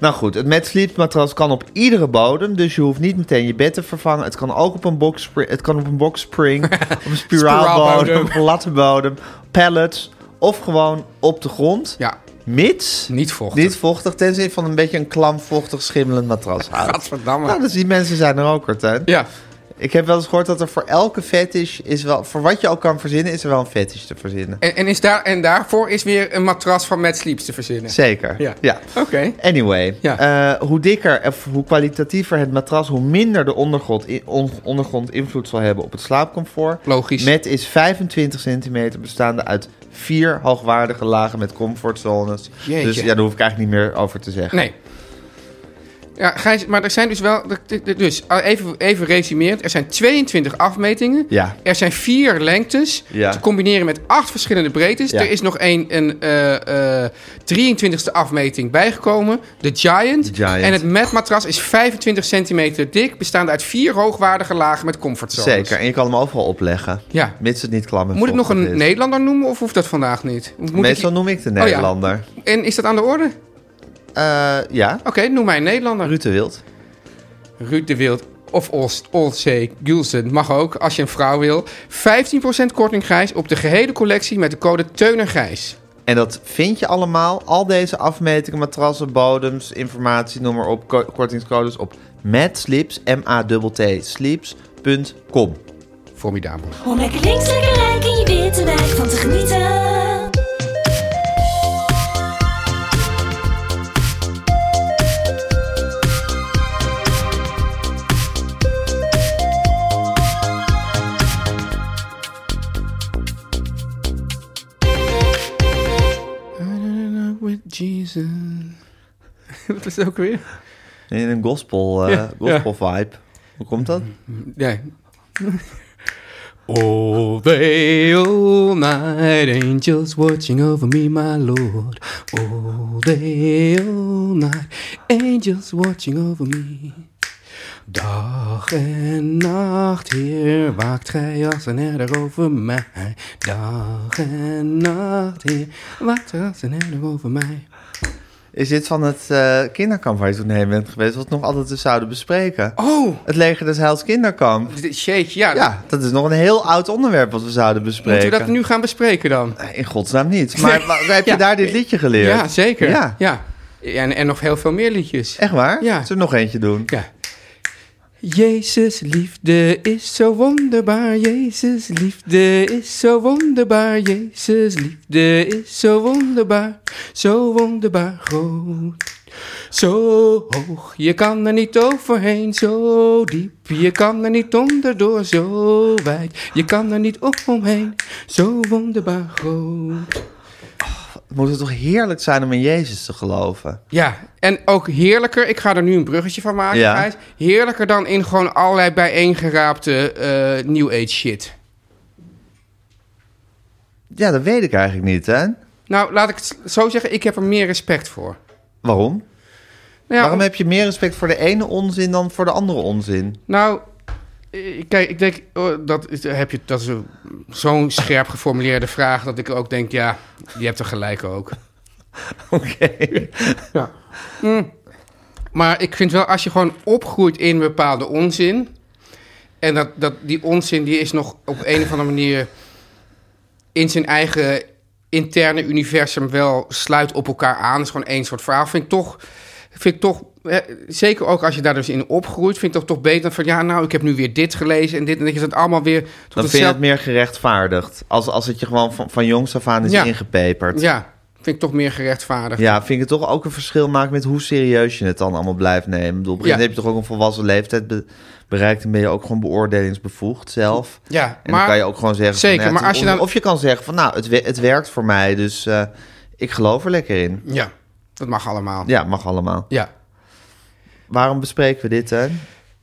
Speaker 1: Nou goed, het Mad Sleeps matras kan op iedere bodem, dus je hoeft niet meteen je bed te vervangen. Het kan ook op een boxspring, het kan op een boxspring, op een spiraalbodem,
Speaker 2: Spiraalbodem.
Speaker 1: op een lattenbodem, pallets of gewoon op de grond.
Speaker 2: Ja.
Speaker 1: Mits
Speaker 2: Niet vochtig.
Speaker 1: niet vochtig, tenzij je van een beetje een klam, vochtig, schimmelend matras houdt.
Speaker 2: Gadverdamme.
Speaker 1: Nou, dus die mensen zijn er ook, Martijn.
Speaker 2: Ja.
Speaker 1: Ik heb wel eens gehoord dat er voor elke fetish is wel... Voor wat je ook kan verzinnen, is er wel een fetish te verzinnen.
Speaker 2: En, en, is daar, en daarvoor is weer een matras van Mad Sleeps te verzinnen.
Speaker 1: Zeker.
Speaker 2: Ja. Oké.
Speaker 1: Anyway,
Speaker 2: Ja.
Speaker 1: eh, hoe dikker of hoe kwalitatiever het matras, hoe minder de ondergrond, i- on- ondergrond invloed zal hebben op het slaapcomfort.
Speaker 2: Logisch.
Speaker 1: Met is 25 centimeter bestaande uit vier hoogwaardige lagen met comfortzones.
Speaker 2: Jeetje.
Speaker 1: Dus ja, daar hoef ik eigenlijk niet meer over te zeggen.
Speaker 2: Nee. Ja, Gijs, maar er zijn dus wel... Dus even, even resumerend. Er zijn 22 afmetingen.
Speaker 1: Ja.
Speaker 2: Er zijn vier lengtes.
Speaker 1: Ja.
Speaker 2: Te combineren met acht verschillende breedtes.
Speaker 1: Ja.
Speaker 2: Er is nog een, een eh, eh, 23e afmeting bijgekomen. De Giant.
Speaker 1: De Giant.
Speaker 2: En het matmatras is 25 centimeter dik. Bestaande uit vier hoogwaardige lagen met comfortzones.
Speaker 1: Zeker, en je kan hem overal opleggen.
Speaker 2: Ja.
Speaker 1: Mits het niet klam en
Speaker 2: Moet ik nog
Speaker 1: vochtig
Speaker 2: een
Speaker 1: is.
Speaker 2: Nederlander noemen of hoeft dat vandaag niet? Moet ik- Oh
Speaker 1: Meestal noem ik de
Speaker 2: ja.
Speaker 1: Nederlander.
Speaker 2: En is dat aan de orde? Oké,
Speaker 1: ja. ja,
Speaker 2: noem mij een Nederlander.
Speaker 1: Ruud de Wild.
Speaker 2: Ruud de Wild of Olst- Olzee Gulsen mag ook, als je een vrouw wil. 15% korting Gijs op de gehele collectie met de code Teun en Gijs.
Speaker 1: En dat vind je allemaal, al deze afmetingen, matrassen, bodems, informatie, noem maar op, ko- kortingscodes op matsleeps, m-a-t-t, sleeps.com.
Speaker 2: Formidabel.
Speaker 4: Om lekker links, lekker rijk in je witte wijk van te genieten.
Speaker 2: With Jesus. Dat is het ook weer.
Speaker 1: In een gospel, eh,
Speaker 2: Ja,
Speaker 1: gospel vibe. Hoe komt dat?
Speaker 2: Ja. All day, all night, angels watching over me, my lord. All day, all night, angels watching over me. Dag en nacht, Heer, waakt gij als een herder over mij. Dag en nacht, Heer, waakt gij als een herder over mij.
Speaker 1: Is dit van het eh, kinderkamp waar je toen heen bent geweest, wat we nog altijd dus zouden bespreken?
Speaker 2: Oh,
Speaker 1: Het leger des Heils kinderkamp.
Speaker 2: shake, ja.
Speaker 1: Ja, dat is nog een heel oud onderwerp wat we zouden bespreken.
Speaker 2: Moeten we dat nu gaan bespreken dan?
Speaker 1: In godsnaam niet. Maar wa- heb je
Speaker 2: Ja.
Speaker 1: daar dit liedje geleerd?
Speaker 2: Ja, zeker.
Speaker 1: Ja.
Speaker 2: Ja. En, en nog heel veel meer liedjes.
Speaker 1: Echt waar?
Speaker 2: Ja.
Speaker 1: Zullen we nog eentje doen?
Speaker 2: Ja. Jezus, liefde is zo wonderbaar. Jezus, liefde is zo wonderbaar. Jezus, liefde is zo wonderbaar. Zo wonderbaar groot. Zo hoog, je kan er niet overheen. Zo diep, je kan er niet onderdoor. Zo wijd, je kan er niet omheen. Zo wonderbaar groot.
Speaker 1: Het moet het toch heerlijk zijn om in Jezus te geloven?
Speaker 2: Ja, en ook heerlijker. Ik ga er nu een bruggetje van maken.
Speaker 1: Ja.
Speaker 2: Gijs. Heerlijker dan in gewoon allerlei bijeengeraapte eh New Age shit.
Speaker 1: Ja, dat weet ik eigenlijk niet, hè?
Speaker 2: Nou, laat ik het zo zeggen. Ik heb er meer respect voor.
Speaker 1: Waarom?
Speaker 2: Nou, ja,
Speaker 1: Waarom heb je meer respect voor de ene onzin dan voor de andere onzin?
Speaker 2: Nou, eh, kijk, ik denk... oh, dat, is, heb je, dat is een- zo'n scherp geformuleerde vraag... dat ik ook denk, ja, je hebt er gelijk ook.
Speaker 1: Oké.
Speaker 2: Maar ik vind wel, als je gewoon opgroeit in bepaalde onzin. En dat, dat, die onzin die is nog op een of andere manier in zijn eigen interne universum wel sluit op elkaar aan. Dat is gewoon één soort verhaal. Vind ik toch. Vind ik toch hè, zeker ook als je daar dus in opgroeit, vind ik dat toch beter dan van ja, nou, ik heb nu weer dit gelezen en dit. En dat je dat allemaal weer. Tot
Speaker 1: Dan vind je
Speaker 2: hetzelfde-
Speaker 1: het meer gerechtvaardigd. Als, als het je gewoon van, van jongs af aan is
Speaker 2: Ja.
Speaker 1: ingepeperd.
Speaker 2: Ja, vind ik toch meer gerechtvaardigd.
Speaker 1: Ja, vind ik het toch ook een verschil maken met hoe serieus je het dan allemaal blijft nemen. Ik bedoel, op een gegeven
Speaker 2: Ja.
Speaker 1: moment heb je toch ook een volwassen leeftijd be- bereikt. Dan ben je ook gewoon beoordelingsbevoegd zelf.
Speaker 2: Ja,
Speaker 1: en dan
Speaker 2: maar-
Speaker 1: kan je ook gewoon zeggen... van,
Speaker 2: Zeker,
Speaker 1: nou ja,
Speaker 2: maar als je dan-
Speaker 1: Of je kan zeggen van, nou, het, we- het werkt voor mij, dus eh, ik geloof er lekker in.
Speaker 2: Ja, dat mag allemaal.
Speaker 1: Ja, mag allemaal.
Speaker 2: ja.
Speaker 1: Waarom bespreken we dit, hè?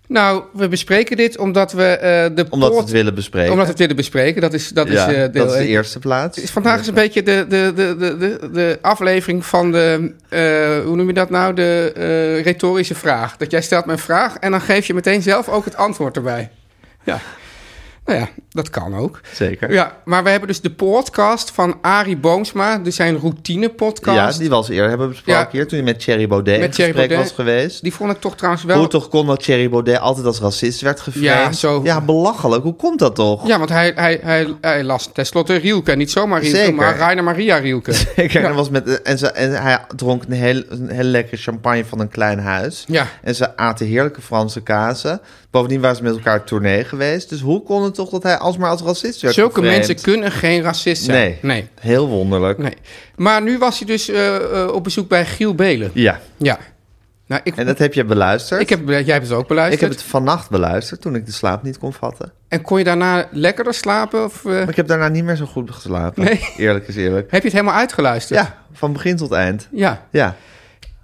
Speaker 2: Nou, we bespreken dit omdat we eh de
Speaker 1: Omdat we
Speaker 2: poort-
Speaker 1: het willen bespreken.
Speaker 2: Omdat we het willen bespreken. Dat is, dat
Speaker 1: ja,
Speaker 2: is, eh, deel
Speaker 1: dat is de
Speaker 2: één.
Speaker 1: eerste plaats.
Speaker 2: Het is vandaag is een beetje de, de, de, de, de, de aflevering van de, eh, hoe noem je dat nou, de eh, retorische vraag. Dat jij stelt me een vraag en dan geef je meteen zelf ook het antwoord erbij. Ja. Nou ja, dat kan ook.
Speaker 1: Zeker.
Speaker 2: Ja, maar we hebben dus de podcast van Arie Boomsma, dus zijn
Speaker 1: Ja,
Speaker 2: routine-podcast.
Speaker 1: die was eerder hebben we besproken
Speaker 2: Ja.
Speaker 1: hier toen je met Thierry Baudet in
Speaker 2: Met Thierry
Speaker 1: gesprek
Speaker 2: Baudet.
Speaker 1: was geweest.
Speaker 2: Die vond ik toch trouwens wel...
Speaker 1: Hoe toch kon dat Thierry Baudet altijd als racist werd gevraagd?
Speaker 2: Ja, zo.
Speaker 1: ja belachelijk. Hoe komt dat toch?
Speaker 2: Ja, want hij, hij, hij, hij las tenslotte Rielke. Niet zomaar Rielke,
Speaker 1: Zeker.
Speaker 2: maar Rainer Maria Rielke.
Speaker 1: Kijk, en, er was met, en, ze, en hij dronk een heel, een heel lekkere champagne van een klein huis.
Speaker 2: Ja.
Speaker 1: En ze aten heerlijke Franse kazen. Bovendien waren ze met elkaar op tournee geweest. Dus hoe kon het toch dat hij alsmaar als racist werd
Speaker 2: Zulke
Speaker 1: geframed?
Speaker 2: mensen kunnen geen racist zijn.
Speaker 1: Nee.
Speaker 2: Nee.
Speaker 1: Heel wonderlijk.
Speaker 2: nee. Maar nu was hij dus eh, eh, op bezoek bij Giel Belen.
Speaker 1: Ja,
Speaker 2: Ja. Nou, ik,
Speaker 1: en dat heb je beluisterd.
Speaker 2: ik heb, jij hebt het ook
Speaker 1: ik
Speaker 2: beluisterd.
Speaker 1: heb het vannacht beluisterd toen ik de slaap niet kon vatten.
Speaker 2: En kon je daarna lekkerder slapen? Of, eh,
Speaker 1: Maar ik heb daarna niet meer zo goed geslapen.
Speaker 2: Nee.
Speaker 1: Eerlijk is eerlijk.
Speaker 2: Heb je het helemaal uitgeluisterd?
Speaker 1: Ja, van begin tot eind.
Speaker 2: ja.
Speaker 1: Ja,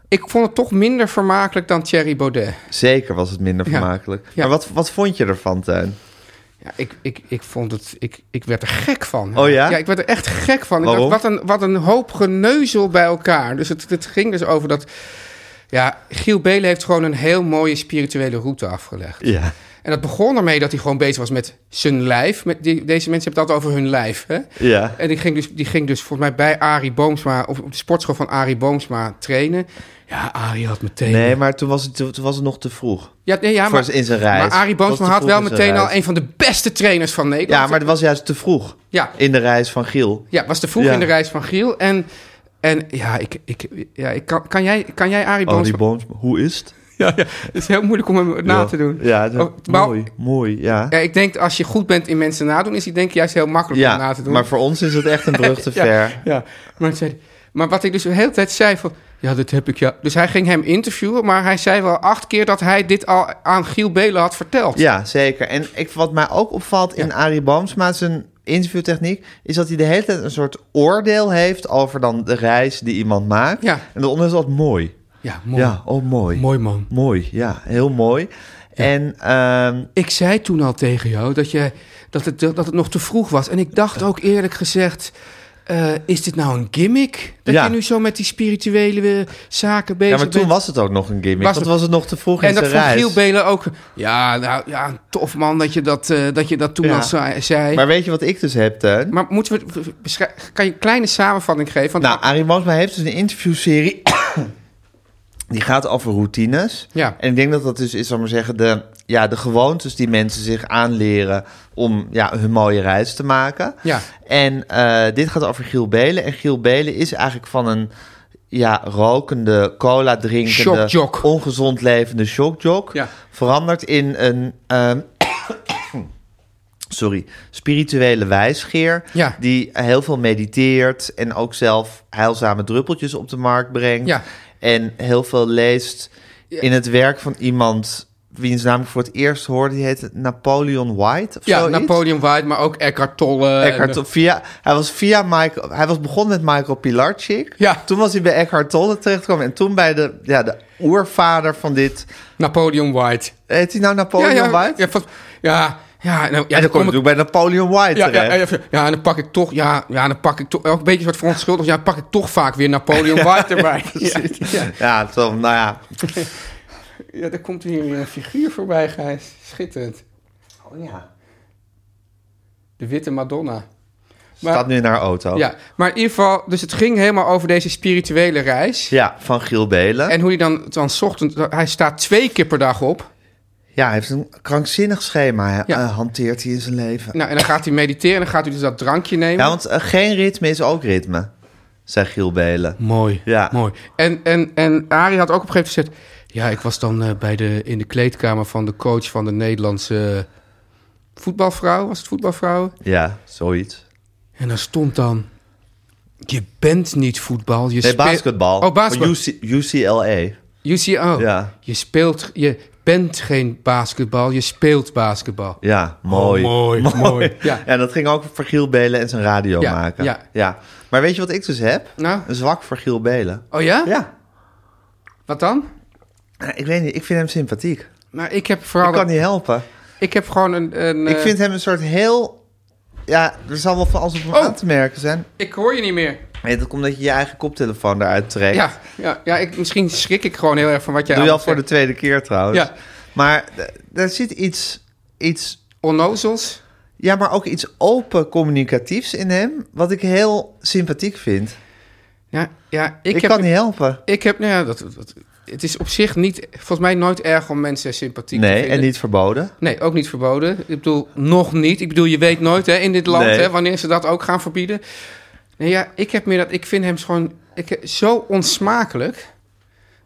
Speaker 2: Ik vond het toch minder vermakelijk dan Thierry Baudet.
Speaker 1: zeker was het minder
Speaker 2: Ja.
Speaker 1: vermakelijk.
Speaker 2: Ja.
Speaker 1: Maar wat, wat vond je ervan, Tuin?
Speaker 2: Ja, ik, ik, ik vond het... Ik, ik werd er gek van.
Speaker 1: Oh ja?
Speaker 2: Ja, ik werd er echt gek van. Ik
Speaker 1: Waarom?
Speaker 2: dacht, wat een, wat een hoop geneuzel bij elkaar. Dus het, het ging dus over dat... Ja, Giel Belen heeft gewoon een heel mooie spirituele route afgelegd.
Speaker 1: Ja.
Speaker 2: En dat begon ermee dat hij gewoon bezig was met zijn lijf. Met die, deze mensen hebben het altijd over hun lijf, hè?
Speaker 1: Ja.
Speaker 2: En die ging, dus, die ging dus volgens mij bij Arie Boomsma, of op de sportschool van Arie Boomsma trainen. Ja, Arie had meteen...
Speaker 1: Nee, maar toen was het, toen was het nog te vroeg.
Speaker 2: Ja, nee, ja,
Speaker 1: Voor
Speaker 2: maar,
Speaker 1: ze in zijn reis.
Speaker 2: Maar Arie
Speaker 1: Dat was
Speaker 2: Boomsma
Speaker 1: te
Speaker 2: had
Speaker 1: vroeg
Speaker 2: wel
Speaker 1: in zijn
Speaker 2: meteen al
Speaker 1: reis.
Speaker 2: een van de beste trainers van Nederland.
Speaker 1: Ja, maar het was juist te vroeg.
Speaker 2: Ja.
Speaker 1: In de reis van Giel.
Speaker 2: Ja, was te vroeg
Speaker 1: Ja.
Speaker 2: in de reis van Giel. En, en ja, ik, ik, ja, ik kan, kan, jij, kan jij Arie
Speaker 1: Oh, die
Speaker 2: Boomsma...
Speaker 1: boom. Hoe is het?
Speaker 2: ja, ja, het is heel moeilijk om hem na
Speaker 1: Ja.
Speaker 2: te doen.
Speaker 1: Ja, het-
Speaker 2: Oh, maar-
Speaker 1: mooi. Mooi, ja.
Speaker 2: Ja, ik denk als je goed bent in mensen nadoen, is die denk ik juist heel makkelijk om na
Speaker 1: Ja,
Speaker 2: te doen.
Speaker 1: maar voor ons is het echt een brug te
Speaker 2: Ja,
Speaker 1: ver.
Speaker 2: Ja, maar, het zei, maar wat ik dus de hele tijd zei van... Ja, dat heb ik ja. Dus hij ging hem interviewen, maar hij zei wel acht keer dat hij dit al aan Giel Belen had verteld.
Speaker 1: Ja, zeker. En ik, wat mij ook opvalt in
Speaker 2: Ja.
Speaker 1: Arie Boomsma zijn interviewtechniek... is dat hij de hele tijd een soort oordeel heeft over dan de reis die iemand maakt.
Speaker 2: Ja.
Speaker 1: En daaronder is dat mooi.
Speaker 2: Ja, mooi.
Speaker 1: Ja, oh mooi.
Speaker 2: Mooi man.
Speaker 1: Mooi, ja. Heel mooi. En ehm,
Speaker 2: Ik zei toen al tegen jou dat, je, dat, het, dat het nog te vroeg was. En ik dacht ook eerlijk gezegd... eh, is dit nou een gimmick? Dat
Speaker 1: Ja.
Speaker 2: je nu zo met die spirituele eh, zaken bezig
Speaker 1: ja,
Speaker 2: bent?
Speaker 1: maar toen was het ook nog een gimmick.
Speaker 2: Was
Speaker 1: Want
Speaker 2: het-
Speaker 1: was het nog te vroeg
Speaker 2: En
Speaker 1: in
Speaker 2: dat
Speaker 1: zijn
Speaker 2: vond
Speaker 1: reis.
Speaker 2: Giel Belen ook... Ja, nou, ja, tof man dat je dat, eh, dat, je dat toen
Speaker 1: Ja.
Speaker 2: al zei. zei.
Speaker 1: Maar weet je wat ik dus heb, Teun?
Speaker 2: Maar moeten we v- beschrij- kan je een kleine samenvatting geven? Want
Speaker 1: Nou, Arie Boomsma heeft dus een interviewserie... die gaat over routines.
Speaker 2: Ja.
Speaker 1: En ik denk dat dat dus is, zal ik maar zeggen... De, ja, de gewoontes die mensen zich aanleren... om ja, hun mooie reis te maken.
Speaker 2: Ja.
Speaker 1: En eh, dit gaat over Giel Belen. En Giel Belen is eigenlijk van een... Ja, rokende, cola drinkende,
Speaker 2: Shockjock.
Speaker 1: ongezond levende shockjock.
Speaker 2: Ja.
Speaker 1: Veranderd in een ehm, sorry, spirituele wijsgeer.
Speaker 2: Ja.
Speaker 1: Die heel veel mediteert en ook zelf heilzame druppeltjes op de markt brengt.
Speaker 2: Ja.
Speaker 1: En heel veel leest in het werk van iemand wiens naam ik voor het eerst hoorde. Die heette Napoleon White of
Speaker 2: Ja,
Speaker 1: zoiets.
Speaker 2: Napoleon White, maar ook Eckhart Tolle. en- eh,
Speaker 1: Eckhart Tolle, via, hij was via Michael, hij was begonnen met Michael Pilarczyk.
Speaker 2: Ja.
Speaker 1: Toen was hij bij Eckhart Tolle terechtgekomen en toen bij de, ja, de oervader van dit.
Speaker 2: Napoleon White.
Speaker 1: Heet hij nou Napoleon
Speaker 2: ja, ja,
Speaker 1: White?
Speaker 2: Ja, vast- ja, ja, nou, ja,
Speaker 1: en dan kom je bij Napoleon White
Speaker 2: ja, ja,
Speaker 1: terecht.
Speaker 2: ja, ja, ja, en dan pak ik toch, ja, ja, dan pak ik toch, ook een beetje een soort verontschuldigd, ja, dan pak ik toch vaak weer Napoleon White erbij. Ja, ja,
Speaker 1: Ja, zo, nou ja.
Speaker 2: ja, er komt hier weer een figuur voorbij, Gijs. Schitterend.
Speaker 1: Oh ja.
Speaker 2: De witte Madonna.
Speaker 1: Staat nu in haar auto.
Speaker 2: Ja, maar in ieder geval, dus het ging helemaal over deze spirituele reis.
Speaker 1: Ja, van Giel Belen.
Speaker 2: En hoe hij dan, dan 's ochtends, hij staat twee keer per dag op.
Speaker 1: Ja, hij heeft een krankzinnig schema, hè,
Speaker 2: Ja.
Speaker 1: eh, hanteert hij in zijn leven.
Speaker 2: Nou, en dan gaat hij mediteren en dan gaat hij dus dat drankje nemen.
Speaker 1: Ja, want eh, geen ritme is ook ritme, zei Giel Belen.
Speaker 2: Mooi,
Speaker 1: Ja.
Speaker 2: mooi. En, en, en Arie had ook op een gegeven moment gezegd... Ja, ik was dan eh, bij de, in de kleedkamer van de coach van de Nederlandse voetbalvrouw. Was het voetbalvrouw?
Speaker 1: Ja, zoiets.
Speaker 2: En daar stond dan... Je bent niet voetbal. Je
Speaker 1: Nee,
Speaker 2: speel-
Speaker 1: basketbal.
Speaker 2: Oh, basketbal.
Speaker 1: Van UC UCLA.
Speaker 2: UCO.
Speaker 1: Ja.
Speaker 2: Je speelt... Je bent geen basketbal. Je speelt basketbal.
Speaker 1: Ja, mooi.
Speaker 2: Oh, mooi, mooi. Ja.
Speaker 1: En dat ging ook voor Giel Belen en zijn radio
Speaker 2: Ja,
Speaker 1: maken.
Speaker 2: ja.
Speaker 1: Maar weet je wat ik dus heb?
Speaker 2: Nou?
Speaker 1: Een zwak voor Giel Belen.
Speaker 2: Oh ja?
Speaker 1: Ja.
Speaker 2: Wat dan?
Speaker 1: Ja, Nou, Ik weet niet, ik vind hem sympathiek.
Speaker 2: Maar ik heb vooral...
Speaker 1: Ik kan niet helpen.
Speaker 2: ik heb gewoon een... een
Speaker 1: Ik
Speaker 2: eh,
Speaker 1: vind hem een soort heel... Ja, er zal wel van alles op hem
Speaker 2: Oh.
Speaker 1: aan te merken zijn.
Speaker 2: ik hoor je niet meer.
Speaker 1: Nee, dat komt omdat je je eigen koptelefoon eruit trekt.
Speaker 2: Ja, ja, ja ik, misschien schrik ik gewoon heel erg van wat jij
Speaker 1: Doe je al
Speaker 2: allemaal
Speaker 1: voor de
Speaker 2: zegt.
Speaker 1: tweede keer trouwens.
Speaker 2: Ja.
Speaker 1: Maar d- daar zit iets, iets
Speaker 2: Onnozels?
Speaker 1: Ja, maar ook iets open communicatiefs in hem, wat ik heel sympathiek vind.
Speaker 2: Ja, ja
Speaker 1: Ik,
Speaker 2: ik, heb
Speaker 1: kan niet helpen.
Speaker 2: Ik heb, nou ja, dat, dat- het is op zich niet, volgens mij nooit erg om mensen sympathiek te
Speaker 1: Nee,
Speaker 2: vinden.
Speaker 1: en niet verboden.
Speaker 2: Nee, ook niet verboden. Ik bedoel, nog niet. Ik bedoel, je weet nooit hè, in dit land
Speaker 1: Nee.
Speaker 2: hè, wanneer ze dat ook gaan verbieden. Nee, ja, ik heb meer dat, ik vind hem gewoon ik, zo onsmakelijk.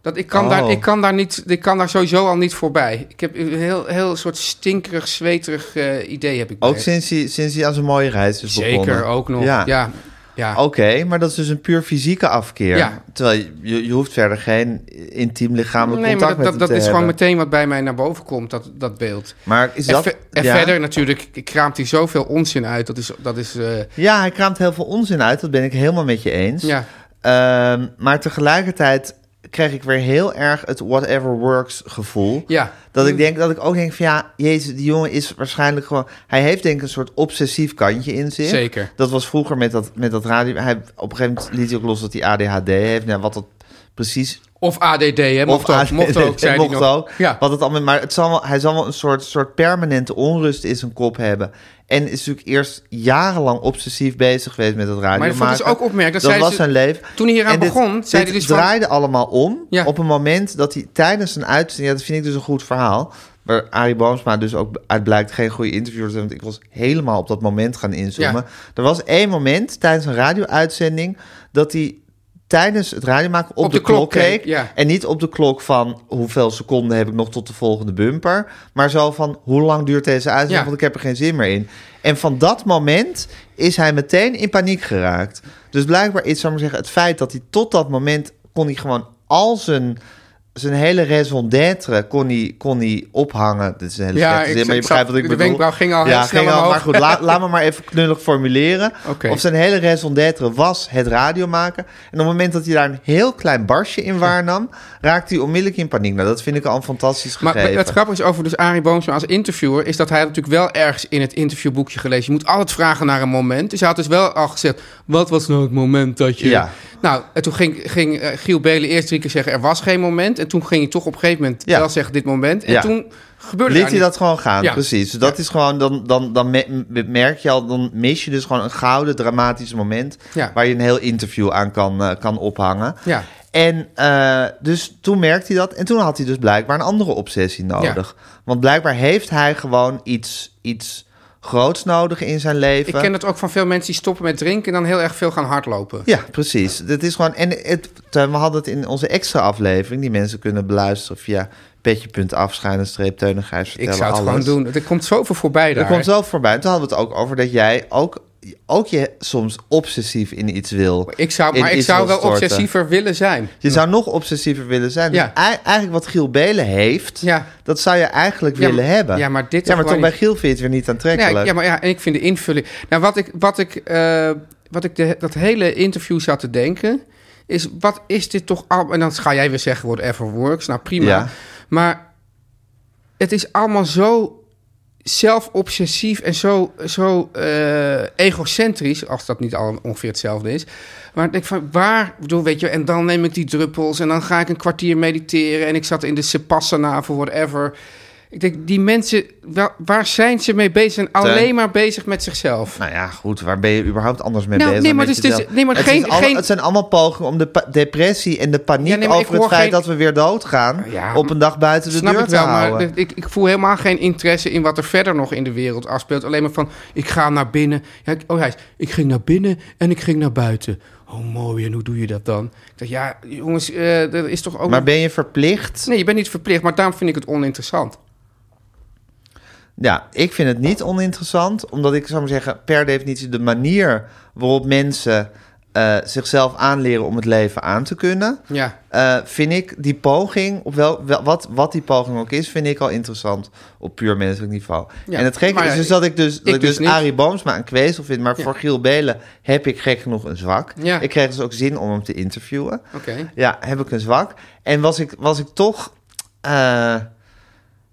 Speaker 2: Dat ik kan,
Speaker 1: Oh.
Speaker 2: daar, ik, kan daar niet, ik kan daar sowieso al niet voorbij. Ik heb een heel, heel soort stinkerig, zweterig eh, idee heb ik bij
Speaker 1: Ook
Speaker 2: hem.
Speaker 1: sinds hij, sinds hij aan zijn mooie reis is begonnen.
Speaker 2: Zeker, ook nog. Ja, ja.
Speaker 1: Oké, maar dat is dus een puur fysieke afkeer.
Speaker 2: Ja.
Speaker 1: Terwijl je- je, je hoeft verder geen intiem lichamelijk
Speaker 2: nee, maar
Speaker 1: contact
Speaker 2: dat,
Speaker 1: met
Speaker 2: dat, dat
Speaker 1: hem
Speaker 2: is
Speaker 1: te
Speaker 2: gewoon
Speaker 1: hebben.
Speaker 2: meteen wat bij mij naar boven komt, dat, dat beeld.
Speaker 1: Maar is
Speaker 2: En,
Speaker 1: dat...
Speaker 2: ver- en
Speaker 1: ja?
Speaker 2: verder natuurlijk kraamt hij zoveel onzin uit. Dat is, dat is eh,
Speaker 1: Ja, hij kraamt heel veel onzin uit. Dat ben ik helemaal met je eens.
Speaker 2: ja,
Speaker 1: Ehm, maar tegelijkertijd krijg ik weer heel erg het whatever works gevoel.
Speaker 2: ja. Hm.
Speaker 1: Dat ik denk dat ik ook denk van ja, Jezus, die jongen is waarschijnlijk gewoon. Hij heeft denk ik een soort obsessief kantje in zich.
Speaker 2: Zeker.
Speaker 1: Dat was vroeger met dat, met dat radio. Hij, op een gegeven moment liet hij ook los dat hij ADHD heeft. Nou, wat dat precies.
Speaker 2: Of ADD, hè, mocht, ook,
Speaker 1: ADHD
Speaker 2: mocht ook, zei hij
Speaker 1: mocht
Speaker 2: nog.
Speaker 1: ook.
Speaker 2: Ja.
Speaker 1: Wat het allemaal, maar het zal wel, hij zal wel een soort, soort permanente onrust in zijn kop hebben. En is natuurlijk eerst jarenlang obsessief bezig geweest met dat radio.
Speaker 2: Maar ik vond het dus ook opmerkelijk, dat
Speaker 1: Dat,
Speaker 2: zeiden
Speaker 1: was
Speaker 2: ze-
Speaker 1: zijn leven.
Speaker 2: toen hij hieraan
Speaker 1: En dit-
Speaker 2: begon, zei
Speaker 1: dit
Speaker 2: hij dus van-
Speaker 1: draaide allemaal om.
Speaker 2: Ja.
Speaker 1: Op een moment dat hij tijdens een uitzending... Ja, dat vind ik dus een goed verhaal. Waar Arie Boomsma dus ook uit blijkt geen goede interviewer te zijn. Want ik was helemaal op dat moment gaan inzoomen.
Speaker 2: Ja.
Speaker 1: Er was één moment tijdens een radio-uitzending... dat hij tijdens het radiomaken op, de, klok keek.
Speaker 2: ja.
Speaker 1: En niet op de klok van hoeveel seconden heb ik nog tot de volgende bumper. Maar zo van hoe lang duurt deze uitzending,
Speaker 2: Ja.
Speaker 1: want ik heb er geen zin meer in. En van dat moment is hij meteen in paniek geraakt. Dus blijkbaar is, zou ik maar zeggen, het feit dat hij tot dat moment kon hij gewoon al zijn... Zijn hele raison d'être kon hij, kon hij ophangen. Dit is een hele
Speaker 2: Ja,
Speaker 1: slechte
Speaker 2: ik
Speaker 1: zin, maar je
Speaker 2: zag-
Speaker 1: begrijpt wat ik
Speaker 2: de
Speaker 1: bedoel.
Speaker 2: wenkbrauw ging al
Speaker 1: ja,
Speaker 2: heel snel
Speaker 1: ging al,
Speaker 2: omhoog.
Speaker 1: Maar goed, laat, laat me maar even knullig formuleren.
Speaker 2: Oké.
Speaker 1: Of zijn hele raison d'être was het radio maken. En op het moment dat hij daar een heel klein barsje in waarnam... raakte hij onmiddellijk in paniek. Nou, dat vind ik al een fantastisch
Speaker 2: Maar
Speaker 1: gegeven.
Speaker 2: het grappige is over dus Arie Boomsma als interviewer... is dat hij had natuurlijk wel ergens in het interviewboekje gelezen. Je moet altijd vragen naar een moment. Dus hij had dus wel al gezegd... wat was nou het moment dat je...
Speaker 1: Ja.
Speaker 2: Nou, en toen ging, ging eh, Giel Belen eerst drie keer zeggen... er was geen moment. En toen ging hij toch op een gegeven moment
Speaker 1: Ja.
Speaker 2: wel zeggen... dit moment. En
Speaker 1: Ja.
Speaker 2: toen gebeurde
Speaker 1: Liet
Speaker 2: daar
Speaker 1: hij dat
Speaker 2: niets.
Speaker 1: gewoon gaan,
Speaker 2: Ja.
Speaker 1: precies. Dus dat is gewoon, dan, dan, dan me- merk je al, dan mis je dus gewoon een gouden dramatisch moment.
Speaker 2: Ja.
Speaker 1: Waar je een heel interview aan kan, eh, kan ophangen.
Speaker 2: Ja.
Speaker 1: En eh, dus toen merkte hij dat. En toen had hij dus blijkbaar een andere obsessie nodig. Want blijkbaar heeft hij gewoon iets, iets groots nodig in zijn leven.
Speaker 2: Ik ken dat ook van veel mensen die stoppen met drinken... en dan heel erg veel gaan hardlopen.
Speaker 1: Ja, precies. Dat is gewoon. En het, Teun, we hadden het in onze extra aflevering, die mensen kunnen beluisteren via petje.afschuinen streep teunigheid
Speaker 2: Ik
Speaker 1: vertellen.
Speaker 2: zou het
Speaker 1: alles.
Speaker 2: gewoon doen. Er komt zoveel voorbij daar.
Speaker 1: Er komt zelf voorbij. Toen hadden we het ook over dat jij ook, ook je soms obsessief in iets wil.
Speaker 2: Ik zou,
Speaker 1: in
Speaker 2: maar ik
Speaker 1: iets
Speaker 2: zou
Speaker 1: wil
Speaker 2: wel
Speaker 1: storten.
Speaker 2: obsessiever willen zijn.
Speaker 1: Je zou nog obsessiever willen zijn. Dus
Speaker 2: Ja.
Speaker 1: ei- eigenlijk wat Giel Belen heeft,
Speaker 2: Ja.
Speaker 1: dat zou je eigenlijk
Speaker 2: Ja,
Speaker 1: willen
Speaker 2: maar-
Speaker 1: hebben.
Speaker 2: ja, maar dit
Speaker 1: ja,
Speaker 2: toch
Speaker 1: maar
Speaker 2: gewoon
Speaker 1: toch bij
Speaker 2: niet.
Speaker 1: Giel vind je het weer niet
Speaker 2: Ja,
Speaker 1: aantrekkelijk.
Speaker 2: ik- Nou ja, maar ja, en ik vind de invulling. Nou, wat ik, wat ik, eh, wat ik de, dat hele interview zat te denken, is wat is dit toch al? En dan ga jij weer zeggen, whatever works. Nou, prima.
Speaker 1: Ja.
Speaker 2: Maar het is allemaal zo zelfobsessief en zo, zo eh, egocentrisch, als dat niet al ongeveer hetzelfde is. Maar ik denk van, waar, ik bedoel, weet je, en dan neem ik die druppels en dan ga ik een kwartier mediteren en ik zat in de Sepassana voor whatever. Ik denk, die mensen, wa- waar zijn ze mee bezig? Ze zijn
Speaker 1: Teun.
Speaker 2: alleen maar bezig met zichzelf.
Speaker 1: Nou ja, goed, waar ben je überhaupt anders mee
Speaker 2: Nou,
Speaker 1: bezig?
Speaker 2: nee, maar
Speaker 1: met
Speaker 2: dus- dus-
Speaker 1: jezelf?
Speaker 2: nee, maar
Speaker 1: het,
Speaker 2: geen-
Speaker 1: is alle-
Speaker 2: geen-
Speaker 1: het zijn allemaal pogingen om de pa- depressie en de paniek
Speaker 2: Ja, nee, maar ik
Speaker 1: over het
Speaker 2: hoor
Speaker 1: feit
Speaker 2: geen-
Speaker 1: dat we weer doodgaan...
Speaker 2: Ja,
Speaker 1: op een dag buiten de
Speaker 2: Snap
Speaker 1: deur
Speaker 2: ik wel,
Speaker 1: te houden.
Speaker 2: maar ik, ik voel helemaal geen interesse in wat er verder nog in de wereld afspeelt. Alleen maar van, ik ga naar binnen. Ja, ik- oh, hij is, ik ging naar binnen en ik ging naar buiten. Oh, mooi, en hoe doe je dat dan? Ik dacht, ja, jongens, eh dat is toch ook...
Speaker 1: Maar ben je verplicht?
Speaker 2: Nee, je bent niet verplicht, maar daarom vind ik het oninteressant.
Speaker 1: Ja, ik vind het niet oninteressant, omdat ik zou maar zeggen, per definitie de manier waarop mensen eh, zichzelf aanleren om het leven aan te kunnen,
Speaker 2: Ja.
Speaker 1: eh, vind ik die poging, op wel, wel- wat, wat die poging ook is, vind ik al interessant op puur menselijk niveau.
Speaker 2: Ja,
Speaker 1: en het gekke
Speaker 2: maar
Speaker 1: is
Speaker 2: ja,
Speaker 1: dus dat ik dus, dat
Speaker 2: ik
Speaker 1: ik dus,
Speaker 2: dus niet.
Speaker 1: Arie Boomsma een kwezel vind, maar voor Giel Belen heb ik gek genoeg een zwak.
Speaker 2: Ja.
Speaker 1: Ik kreeg dus ook zin om hem te interviewen.
Speaker 2: Oké.
Speaker 1: Ja, heb ik een zwak. En was ik, was ik toch. eh,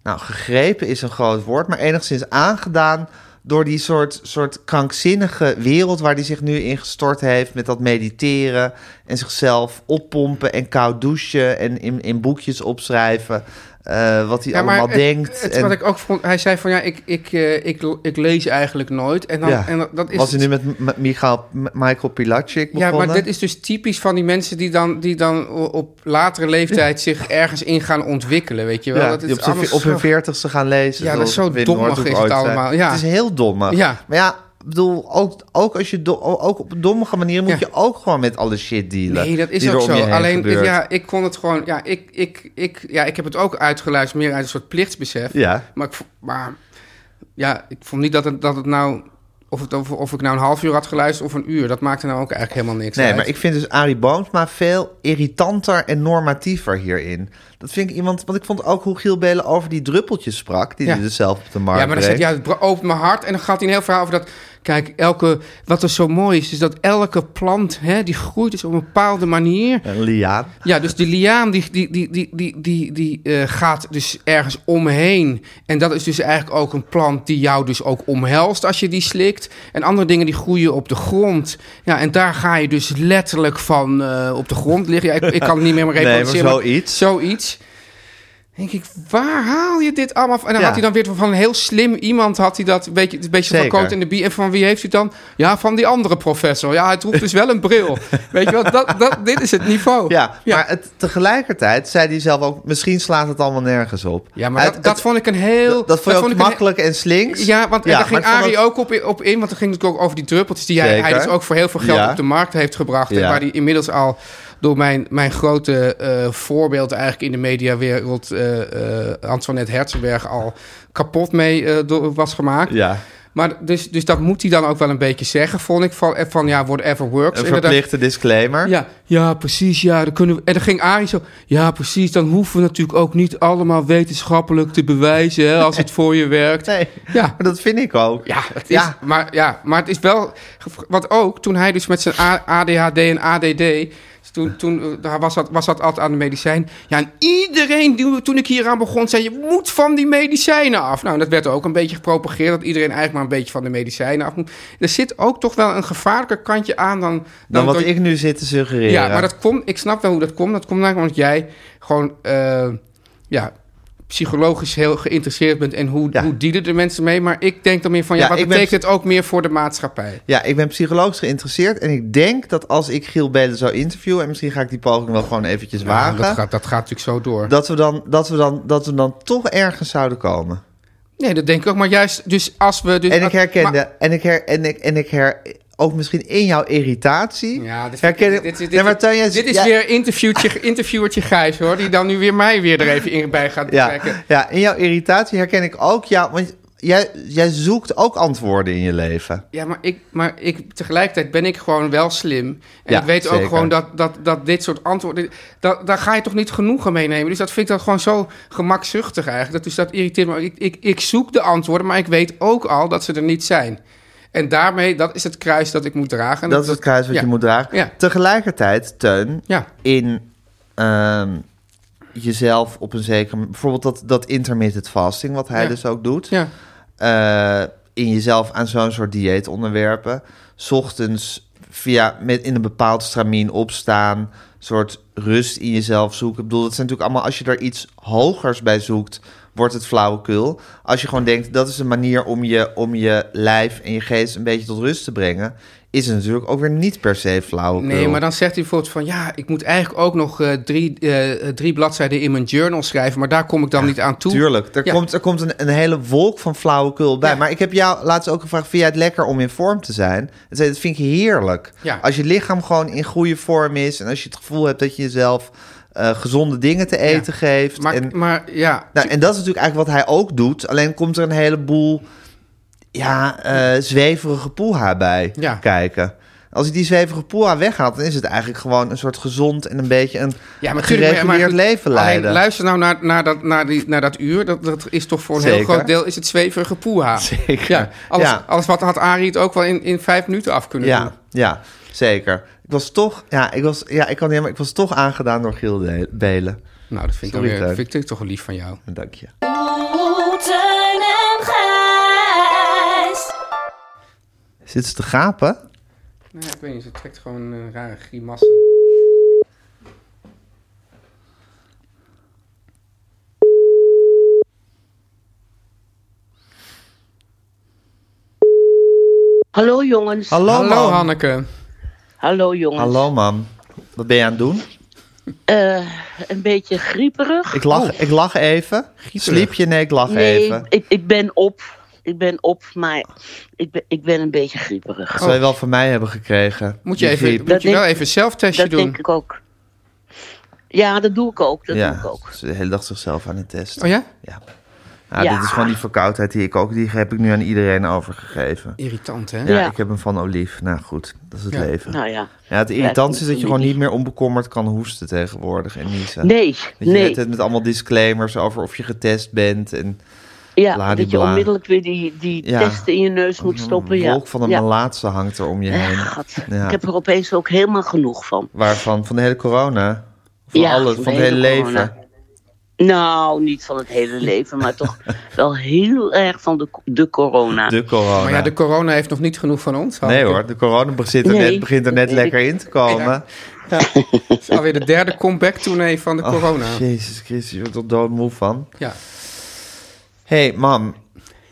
Speaker 1: nou, gegrepen is een groot woord, maar enigszins aangedaan door die soort, soort krankzinnige wereld waar hij zich nu in gestort heeft met dat mediteren en zichzelf oppompen en koud douchen en in, in boekjes opschrijven. eh, wat hij
Speaker 2: Ja, maar
Speaker 1: allemaal
Speaker 2: het-
Speaker 1: denkt.
Speaker 2: het-
Speaker 1: en
Speaker 2: wat ik ook vond, hij zei van ja, ik, ik, eh, ik, ik lees eigenlijk nooit. En, dan,
Speaker 1: Ja.
Speaker 2: en dat is
Speaker 1: was hij nu met M- Michael, M- Michael Pilacic
Speaker 2: Ja,
Speaker 1: begonnen?
Speaker 2: maar dit is dus typisch van die mensen die dan, die dan o- op latere leeftijd zich ergens in gaan ontwikkelen, weet je wel?
Speaker 1: Ja,
Speaker 2: dat is
Speaker 1: die op, zijn,
Speaker 2: allemaal
Speaker 1: ve- op hun
Speaker 2: zo-
Speaker 1: veertigste gaan lezen.
Speaker 2: Ja, dat is
Speaker 1: zoals
Speaker 2: zo
Speaker 1: Wim
Speaker 2: dommig
Speaker 1: Noordhoek
Speaker 2: is het
Speaker 1: ooit zei.
Speaker 2: allemaal, ja.
Speaker 1: Het is heel dommig.
Speaker 2: Ja.
Speaker 1: Maar ja, ik bedoel, ook, ook als je do- ook op een dommige manier moet
Speaker 2: Ja.
Speaker 1: je ook gewoon met alle shit dealen.
Speaker 2: Nee, dat is
Speaker 1: die er
Speaker 2: ook
Speaker 1: om
Speaker 2: zo.
Speaker 1: je heen
Speaker 2: Alleen,
Speaker 1: gebeurt.
Speaker 2: ja, ik kon het gewoon... Ja ik, ik, ik, ja, ik heb het ook uitgeluisterd, meer uit een soort plichtsbesef.
Speaker 1: Ja.
Speaker 2: Maar, ik, vo- maar ja, ik vond niet dat het, dat het nou... Of, het, of, of ik nou een half uur had geluisterd of een uur. Dat maakte nou ook eigenlijk helemaal niks
Speaker 1: Nee,
Speaker 2: uit.
Speaker 1: maar ik vind dus Arie Boomsma veel irritanter en normatiever hierin. Dat vind ik iemand... Want ik vond ook hoe Giel Belen over die druppeltjes sprak... die
Speaker 2: Ja.
Speaker 1: hij dus zelf op de markt
Speaker 2: Ja, maar dan zegt
Speaker 1: brengt.
Speaker 2: ja, het bra- opent mijn hart. En dan gaat hij een heel verhaal over dat... Kijk, elke, wat er zo mooi is, is dat elke plant hè, die groeit dus op een bepaalde manier.
Speaker 1: Een liaan.
Speaker 2: Ja, dus die liaan die, die, die, die, die, die, die eh, gaat dus ergens omheen. En dat is dus eigenlijk ook een plant die jou dus ook omhelst als je die slikt. En andere dingen die groeien op de grond. Ja, en daar ga je dus letterlijk van eh, op de grond liggen. Ja, ik, ik kan het niet meer
Speaker 1: Nee, maar
Speaker 2: reproduceren.
Speaker 1: zoiets.
Speaker 2: Zoiets. Denk ik, waar haal je dit allemaal van? En dan
Speaker 1: Ja.
Speaker 2: had hij dan weer van een heel slim iemand, had hij dat een beetje, een beetje
Speaker 1: Zeker.
Speaker 2: van Coat in de Bie. En van wie heeft hij het dan? Ja, van die andere professor. Ja, het roept dus wel een bril. Weet je wat, dat, dat, dit is het niveau.
Speaker 1: Ja,
Speaker 2: Oh, ja.
Speaker 1: maar het, tegelijkertijd zei hij zelf ook... misschien slaat het allemaal nergens op.
Speaker 2: Ja, maar
Speaker 1: Het-
Speaker 2: dat, dat
Speaker 1: het-
Speaker 2: vond ik een heel...
Speaker 1: dat, vond je ook
Speaker 2: ik een-
Speaker 1: makkelijk en slinks.
Speaker 2: Ja, want en daar
Speaker 1: maar
Speaker 2: ging
Speaker 1: ik vond
Speaker 2: Arie
Speaker 1: dat-
Speaker 2: ook op, op in. Want er ging natuurlijk ook over die druppeltjes... die hij, hij
Speaker 1: Zeker.
Speaker 2: dus ook voor heel veel geld
Speaker 1: Ja.
Speaker 2: op de markt heeft gebracht. En
Speaker 1: Ja.
Speaker 2: waar hij inmiddels al door mijn, mijn grote eh, voorbeeld eigenlijk in de mediawereld... eh, eh, Antoinette Herzenberg al kapot mee eh, door- was gemaakt.
Speaker 1: Ja,
Speaker 2: Maar dus, dus dat moet hij dan ook wel een beetje zeggen, vond ik. Van, van ja, whatever works.
Speaker 1: een
Speaker 2: inderdaad.
Speaker 1: verplichte disclaimer.
Speaker 2: Ja, ja, precies. Ja, dan kunnen we, en dan ging Arie zo. Ja, precies. Dan hoeven we natuurlijk ook niet allemaal wetenschappelijk te bewijzen hè, als het voor je werkt.
Speaker 1: Nee,
Speaker 2: Ja.
Speaker 1: maar dat vind ik ook.
Speaker 2: Ja, het is,
Speaker 1: Ja.
Speaker 2: Maar, ja, maar het is wel. gev- Want ook toen hij dus met zijn A- ADHD en ADD. Toen, toen eh, daar was, dat, was dat altijd aan de medicijn. Ja, en iedereen die, toen ik hier aan begon zei: Je moet van die medicijnen af. Nou, dat werd ook een beetje gepropageerd. Dat iedereen eigenlijk maar een beetje van de medicijnen af moet. Er zit ook toch wel een gevaarlijker kantje aan dan. Dan,
Speaker 1: Dan wat
Speaker 2: dat-
Speaker 1: ik nu zit te suggereren.
Speaker 2: ja, maar dat komt, ik snap wel hoe dat komt. Dat komt namelijk omdat jij gewoon eh, ja, psychologisch heel geïnteresseerd bent en hoe,
Speaker 1: Ja.
Speaker 2: hoe dealen de mensen mee. Maar ik denk dan meer van ja,
Speaker 1: Ja,
Speaker 2: wat
Speaker 1: ik ben-
Speaker 2: betekent het ook meer voor de maatschappij?
Speaker 1: Ja, ik ben psychologisch geïnteresseerd. En ik denk dat als ik Giel Belen zou interviewen... en misschien ga ik die poging wel gewoon eventjes
Speaker 2: Ja,
Speaker 1: wagen...
Speaker 2: dat, gaat, dat gaat natuurlijk zo door.
Speaker 1: dat, we dan, dat, we dan, dat we dan toch ergens zouden komen.
Speaker 2: Nee, dat denk ik ook. Maar juist, dus als we. Dus,
Speaker 1: En ik
Speaker 2: maar-
Speaker 1: herkende... En ik her, en ik, en ik her, ook misschien in jouw irritatie...
Speaker 2: ja, dit,
Speaker 1: herken
Speaker 2: dit,
Speaker 1: ik...
Speaker 2: dit, dit,
Speaker 1: Nee, maar Teun, jij-
Speaker 2: dit is
Speaker 1: jij-
Speaker 2: weer interviewtje, interviewertje Gijs hoor, die dan nu weer mij weer er even in bij gaat
Speaker 1: Ja,
Speaker 2: betrekken.
Speaker 1: ja, in jouw irritatie herken ik ook jou... Want jij, jij zoekt ook antwoorden in je leven.
Speaker 2: Ja, maar, ik, maar ik, tegelijkertijd ben ik gewoon wel slim. En
Speaker 1: Ja,
Speaker 2: ik weet ook
Speaker 1: zeker.
Speaker 2: gewoon dat, dat, dat dit soort antwoorden... Dat, daar ga je toch niet genoegen mee nemen? Dus dat vind ik dan gewoon zo gemakzuchtig eigenlijk. Dat, dus dat irriteert me. Ik, ik, ik zoek de antwoorden, maar ik weet ook al dat ze er niet zijn. En daarmee, dat is het kruis dat ik moet dragen. En
Speaker 1: Dat is het kruis wat
Speaker 2: ja.
Speaker 1: je moet dragen.
Speaker 2: Ja.
Speaker 1: Tegelijkertijd, Teun,
Speaker 2: Ja.
Speaker 1: in ehm, jezelf op een zekere... Bijvoorbeeld dat, dat intermittent fasting, wat hij
Speaker 2: Ja.
Speaker 1: dus ook doet.
Speaker 2: Ja,
Speaker 1: eh, in jezelf aan zo'n soort dieet onderwerpen. 's Ochtends via, met in een bepaald stramien opstaan. soort rust in jezelf zoeken. Ik bedoel, dat zijn natuurlijk allemaal... Als je daar iets hogers bij zoekt, wordt het flauwekul. Als je gewoon denkt, dat is een manier om je, om je lijf en je geest... een beetje tot rust te brengen... is het natuurlijk ook weer niet per se flauwekul.
Speaker 2: nee, maar dan zegt hij bijvoorbeeld van... Ja, ik moet eigenlijk ook nog eh, drie, eh, drie bladzijden in mijn journal schrijven... maar daar kom ik dan niet aan toe.
Speaker 1: Tuurlijk, er
Speaker 2: Ja.
Speaker 1: komt, er komt een, een hele wolk van flauwekul bij.
Speaker 2: Ja.
Speaker 1: Maar ik heb jou laatst ook gevraagd, vind jij het lekker om in vorm te zijn? En zei, dat vind ik heerlijk.
Speaker 2: Ja.
Speaker 1: Als je lichaam gewoon in goede vorm is... en als je het gevoel hebt dat je jezelf eh, gezonde dingen te eten geeft.
Speaker 2: Maar,
Speaker 1: en,
Speaker 2: maar ja,
Speaker 1: nou, en dat is natuurlijk eigenlijk wat hij ook doet. Alleen komt er een heleboel ja, eh, zweverige poeha bij
Speaker 2: Ja.
Speaker 1: kijken. Als hij die zweverige poeha weghaalt... dan is het eigenlijk gewoon een soort gezond... en een beetje een
Speaker 2: Ja, maar tuurlijk,
Speaker 1: gereguleerd
Speaker 2: maar- maar goed,
Speaker 1: leven leiden.
Speaker 2: Alleen luister nou naar, naar, dat, naar, die, naar dat uur. Dat, dat is toch voor een heel
Speaker 1: Zeker.
Speaker 2: groot deel is het zweverige poeha.
Speaker 1: Zeker,
Speaker 2: Ja, alles,
Speaker 1: ja.
Speaker 2: alles wat had Arie het ook wel in, in vijf minuten af kunnen doen.
Speaker 1: Ja, ja, zeker. Ik was toch, ja, ik was, ja, ik kan niet, maar ik was toch aangedaan door Giel de- Belen.
Speaker 2: Nou, dat vind ik, dan
Speaker 1: Sorry,
Speaker 2: weer,
Speaker 1: Teun.
Speaker 2: vind ik toch wel lief van jou.
Speaker 1: En Dank je.
Speaker 4: Oeh, Oh, Teun en Gijs.
Speaker 1: Zit ze te gapen?
Speaker 2: Nee, Nou ik weet niet, ze trekt gewoon een eh, rare grimassen.
Speaker 5: Hallo jongens.
Speaker 1: Hallo,
Speaker 2: Hallo
Speaker 1: mam.
Speaker 2: Hanneke.
Speaker 5: Hallo, jongens.
Speaker 1: Hallo, mam. Wat ben je aan het doen?
Speaker 5: Eh, een beetje grieperig.
Speaker 1: Ik
Speaker 2: Oh.
Speaker 1: lach, ik lach even. Sliep je? Nee, ik lach
Speaker 5: nee,
Speaker 1: even.
Speaker 5: Ik, ik ben op. Ik ben op, maar ik ben, ik ben een beetje grieperig.
Speaker 1: Dat zou je wel van mij hebben gekregen.
Speaker 2: Moet je,
Speaker 1: die
Speaker 2: even,
Speaker 1: griep.
Speaker 2: moet je
Speaker 5: denk-
Speaker 2: wel even een zelftestje
Speaker 5: Dat
Speaker 2: doen?
Speaker 5: denk ik ook. Ja, dat doe ik ook. Dat doe ik
Speaker 1: Ja,
Speaker 5: ook.
Speaker 1: ze de hele dag zichzelf aan het testen.
Speaker 2: Oh ja?
Speaker 1: Ja. Ja,
Speaker 5: Ja.
Speaker 1: Dit is gewoon die verkoudheid die ik ook... Die heb ik nu aan iedereen overgegeven.
Speaker 2: Irritant, hè?
Speaker 1: Ja,
Speaker 5: Ja.
Speaker 1: ik heb hem van Olief. Nou goed, dat is het
Speaker 2: Ja.
Speaker 1: leven.
Speaker 5: Nou ja.
Speaker 1: Ja, het
Speaker 5: Ja,
Speaker 1: irritant
Speaker 5: dat
Speaker 1: is dat
Speaker 5: is
Speaker 1: je gewoon
Speaker 5: niet-
Speaker 1: niet meer onbekommerd kan hoesten tegenwoordig en niezen.
Speaker 5: Nee,
Speaker 1: Dat je
Speaker 5: nee.
Speaker 1: net met allemaal disclaimers over of je getest bent en
Speaker 5: Ja, dat je
Speaker 1: bladibla.
Speaker 5: onmiddellijk weer die, die
Speaker 1: Ja.
Speaker 5: testen in je neus moet stoppen.
Speaker 1: een
Speaker 5: Ja.
Speaker 1: wolk van een
Speaker 5: ja.
Speaker 1: malaatse hangt er om je
Speaker 5: Eh,
Speaker 1: heen.
Speaker 5: gat.
Speaker 1: Ja.
Speaker 5: Ik heb er opeens ook helemaal genoeg van.
Speaker 1: Waarvan? Van de hele corona? Van
Speaker 5: Ja,
Speaker 1: alles,
Speaker 5: van
Speaker 1: van
Speaker 5: de
Speaker 1: het hele
Speaker 5: hele
Speaker 1: leven.
Speaker 5: corona. Nou, niet van het hele leven, maar toch wel heel erg van de, de corona.
Speaker 1: De corona.
Speaker 2: Maar ja, de corona heeft nog niet genoeg van ons.
Speaker 1: nee
Speaker 2: Hanneke.
Speaker 1: hoor, de corona begint er
Speaker 5: Nee.
Speaker 1: net, begint er net
Speaker 5: Nee,
Speaker 1: lekker in te komen.
Speaker 2: Ja. Het is alweer de derde comeback-tournee van de
Speaker 1: Ach,
Speaker 2: corona.
Speaker 1: Jezus Christus, je wordt er doodmoe van.
Speaker 2: Ja.
Speaker 1: Hé, hey, mam,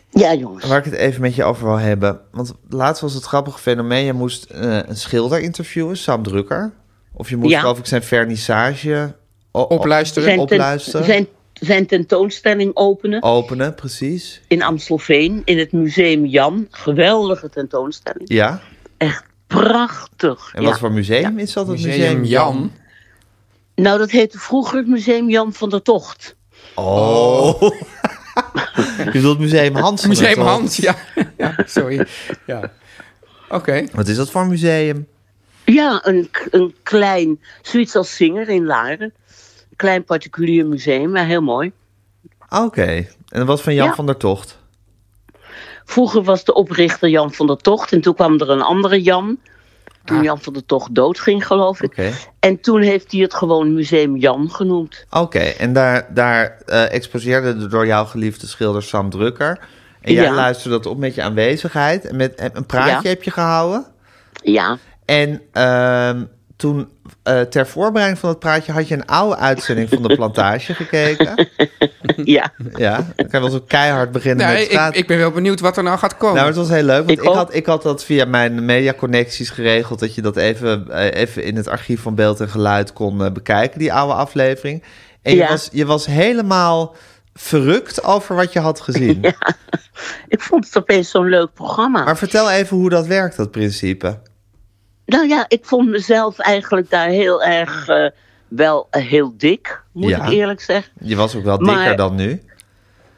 Speaker 5: Ja, jongens.
Speaker 1: Waar ik het even met je over wil hebben. Want laatst was het grappige fenomeen. Je moest eh, een schilder interviewen, Sam Drukker. Of je moest
Speaker 5: Ja.
Speaker 1: geloof ik zijn vernissage o-
Speaker 2: Opluisteren.
Speaker 5: Zijn, ten-
Speaker 1: opluisteren.
Speaker 5: zijn, zijn tentoonstelling
Speaker 1: Oh.
Speaker 5: openen
Speaker 1: openen, precies.
Speaker 5: in Amstelveen, in het museum Jan. Geweldige tentoonstelling.
Speaker 1: Ja.
Speaker 5: Echt prachtig.
Speaker 1: En
Speaker 5: ja.
Speaker 1: wat voor museum is dat? Het museum,
Speaker 2: Museum Jan.
Speaker 5: Nou, dat heette vroeger het museum Jan van der Tocht.
Speaker 1: Oh. je bedoelt museum Hans.
Speaker 2: Museum
Speaker 1: toch?
Speaker 2: Hans, ja. ja sorry. Ja. Oké.
Speaker 1: Wat is dat voor museum?
Speaker 5: Ja, een, k- een klein, zoiets als Singer in Laren. Een klein particulier museum, maar heel mooi.
Speaker 1: Ah, Oké. En dat was van Jan
Speaker 5: Ja.
Speaker 1: van der Tocht.
Speaker 5: Vroeger was de oprichter Jan van der Tocht en toen kwam er een andere Jan. Toen
Speaker 2: Ah.
Speaker 5: Jan van der Tocht doodging, geloof ik.
Speaker 1: Oké.
Speaker 5: En toen heeft hij het gewoon Museum Jan genoemd.
Speaker 1: Oké. En daar, daar eh, exposeerde de door jou geliefde schilder Sam Drukker. En jij
Speaker 5: Ja.
Speaker 1: luisterde dat op met je aanwezigheid. En met en een praatje
Speaker 5: Ja.
Speaker 1: heb je gehouden.
Speaker 5: Ja,
Speaker 1: En ehm, toen, eh, ter voorbereiding van dat praatje, had je een oude uitzending van de plantage gekeken.
Speaker 5: ja.
Speaker 1: Ja, dan kan je wel zo keihard beginnen
Speaker 2: Nou,
Speaker 1: met
Speaker 2: ik,
Speaker 1: straat.
Speaker 2: ik ben wel benieuwd wat er nou gaat komen.
Speaker 1: nou, het was heel leuk, want
Speaker 5: Ik
Speaker 1: ik,
Speaker 5: ook.
Speaker 1: had, ik had dat via mijn mediaconnecties geregeld... dat je dat even, eh, even in het archief van beeld en geluid kon eh, bekijken, die oude aflevering. En je,
Speaker 5: Ja.
Speaker 1: was, je was helemaal verrukt over wat je had gezien.
Speaker 5: Ik vond het opeens zo'n leuk programma.
Speaker 1: Maar vertel even hoe dat werkt, dat principe.
Speaker 5: Nou ja, ik vond mezelf eigenlijk daar heel erg, eh, wel eh, heel dik, moet
Speaker 1: Ja.
Speaker 5: ik eerlijk zeggen.
Speaker 1: Je was ook wel
Speaker 5: Maar-
Speaker 1: dikker dan nu.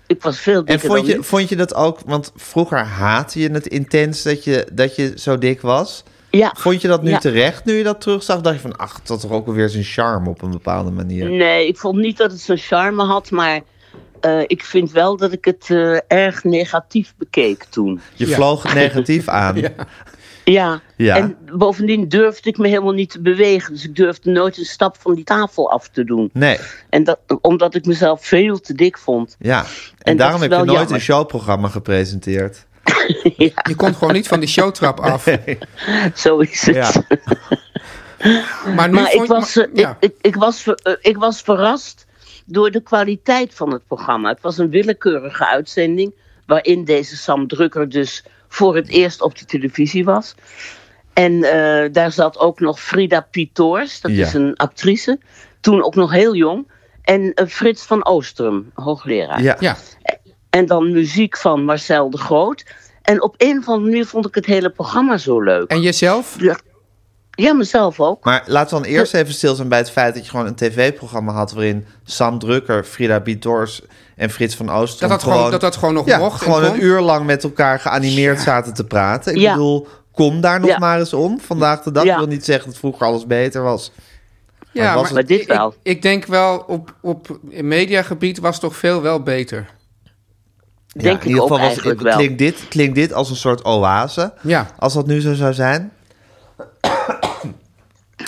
Speaker 5: Ik was veel
Speaker 1: En
Speaker 5: dikker
Speaker 1: vond
Speaker 5: dan
Speaker 1: je, vond je dat ook, want vroeger haatte je het intens dat je, dat je zo dik was.
Speaker 5: nu. Ja.
Speaker 1: Vond je dat nu
Speaker 5: Ja.
Speaker 1: terecht, nu je dat terugzag? Dacht je van, ach, dat had toch ook alweer zijn charme op een bepaalde manier.
Speaker 5: Nee, ik vond niet dat het zo'n charme had, maar eh, ik vind wel dat ik het eh, erg negatief bekeek toen.
Speaker 1: Je
Speaker 2: Ja.
Speaker 1: vloog het negatief aan.
Speaker 2: Ja.
Speaker 5: Ja.
Speaker 1: Ja.
Speaker 5: en bovendien durfde ik me helemaal niet te bewegen. Dus ik durfde nooit een stap van die tafel af te doen.
Speaker 1: Nee,
Speaker 5: En dat, omdat ik mezelf veel te dik vond.
Speaker 1: ja. En,
Speaker 5: dat
Speaker 1: daarom
Speaker 5: is
Speaker 1: heb je
Speaker 5: wel
Speaker 1: nooit
Speaker 5: jammer.
Speaker 1: een showprogramma gepresenteerd.
Speaker 2: Je komt gewoon niet van die showtrap af.
Speaker 5: Zo is het.
Speaker 1: Ja.
Speaker 2: Maar nu
Speaker 5: Maar
Speaker 2: vond
Speaker 5: ik was,
Speaker 2: maar-
Speaker 5: eh,
Speaker 2: ja.
Speaker 5: ik, ik, ik was ver- eh, ik was verrast door de kwaliteit van het programma. Het was een willekeurige uitzending. waarin deze Sam Drukker dus voor het eerst op de televisie was. En eh, daar zat ook nog Frida Pietors, dat
Speaker 1: Ja.
Speaker 5: is een actrice. Toen ook nog heel jong. En eh, Frits van Oostrum, hoogleraar.
Speaker 1: Ja.
Speaker 2: ja.
Speaker 5: En dan muziek van Marcel de Groot. En op een of andere manier vond ik het hele programma zo leuk.
Speaker 2: En jezelf?
Speaker 5: Ja, ja mezelf ook.
Speaker 1: Maar laten we dan eerst even stilstaan bij het feit dat je gewoon een tv-programma had... waarin Sam Drukker, Frida Bietors en Frits van Oosten...
Speaker 2: Dat dat gewoon, dat dat gewoon nog
Speaker 1: ja,
Speaker 2: mocht. en
Speaker 1: gewoon
Speaker 2: kon?
Speaker 1: een uur lang met elkaar geanimeerd zaten te praten. Ik
Speaker 5: Ja.
Speaker 1: bedoel, kom daar nog
Speaker 5: Ja.
Speaker 1: maar eens om. Vandaag de dag
Speaker 5: Ja.
Speaker 1: wil niet zeggen dat vroeger alles beter was.
Speaker 2: Ja,
Speaker 1: was
Speaker 2: maar,
Speaker 1: het-
Speaker 5: Maar dit
Speaker 2: ik-
Speaker 5: wel.
Speaker 2: Ik, ik denk wel, op, op mediagebied was toch veel wel beter.
Speaker 5: Denk ik ook eigenlijk wel.
Speaker 1: Klinkt dit, klinkt dit als een soort oase,
Speaker 2: Ja.
Speaker 1: als dat nu zo zou zijn.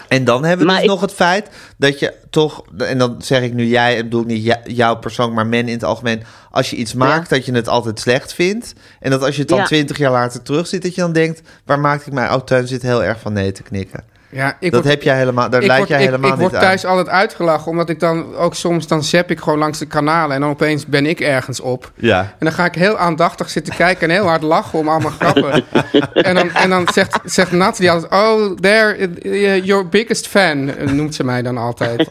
Speaker 1: En dan hebben we
Speaker 5: Maar
Speaker 1: dus
Speaker 5: ik-
Speaker 1: nog het feit dat je toch, en dan zeg ik nu jij, en bedoel ik niet jou- jouw persoon, maar men in het algemeen. Als je iets maakt, dat je het altijd slecht vindt. En dat als je het dan
Speaker 5: Ja.
Speaker 1: twintig jaar later terugziet, dat je dan denkt, waar maak ik mij, oh Teun zit heel erg van nee te knikken.
Speaker 2: Ja, ik
Speaker 1: dat
Speaker 2: word-
Speaker 1: heb jij helemaal, daar
Speaker 2: ik
Speaker 1: leid
Speaker 2: word-
Speaker 1: jij
Speaker 2: ik-
Speaker 1: helemaal
Speaker 2: Ik
Speaker 1: niet
Speaker 2: word thuis
Speaker 1: aan.
Speaker 2: altijd uitgelachen, omdat ik dan ook soms... dan zap ik gewoon langs de kanalen en dan opeens ben ik ergens op.
Speaker 1: Ja.
Speaker 2: En dan ga ik heel aandachtig zitten kijken en heel hard lachen om allemaal grappen. en dan, en dan zegt, zegt Nathalie altijd... Oh, there, eh, your biggest fan, eh, noemt ze mij dan altijd.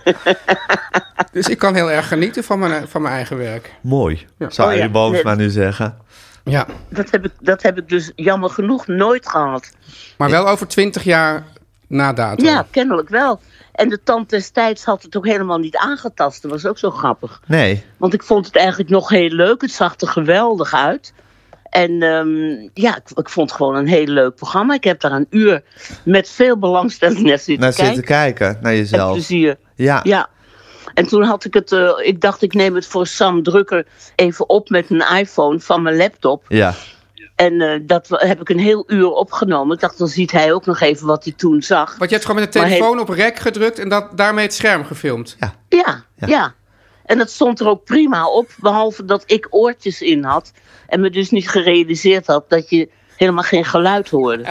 Speaker 2: dus ik kan heel erg genieten van mijn, van mijn eigen werk.
Speaker 1: Mooi, zou
Speaker 5: Oh
Speaker 1: Arie
Speaker 5: ja,
Speaker 1: Boomsma
Speaker 5: nee.
Speaker 1: nu zeggen.
Speaker 2: Ja,
Speaker 5: Dat heb, ik, dat heb ik dus jammer genoeg nooit gehad.
Speaker 2: maar wel over twintig jaar na datum.
Speaker 5: Ja, kennelijk wel. En de tand destijds had het ook helemaal niet aangetast. Dat was ook zo grappig.
Speaker 1: Nee,
Speaker 5: Want ik vond het eigenlijk nog heel leuk. Het zag er geweldig uit. En ehm, ja, ik, ik vond het gewoon een heel leuk programma. Ik heb daar een uur met veel belangstelling naar zitten
Speaker 1: naar
Speaker 5: kijken.
Speaker 1: zitten kijken, naar
Speaker 5: en
Speaker 1: jezelf.
Speaker 5: plezier.
Speaker 1: Ja.
Speaker 5: Ja. En toen had ik het, eh, ik dacht ik neem het voor Sam Drukker even op met een iPhone van mijn laptop.
Speaker 1: ja,
Speaker 5: En eh, dat wa- heb ik een heel uur opgenomen. Ik dacht, dan ziet hij ook nog even wat hij toen zag.
Speaker 2: Want je hebt gewoon met de
Speaker 5: Maar
Speaker 2: telefoon op rek gedrukt en dat, daarmee het scherm gefilmd.
Speaker 5: Ja, ja, En dat stond er ook prima op, behalve dat ik oortjes in had. En me dus niet gerealiseerd had dat je helemaal geen geluid hoorde.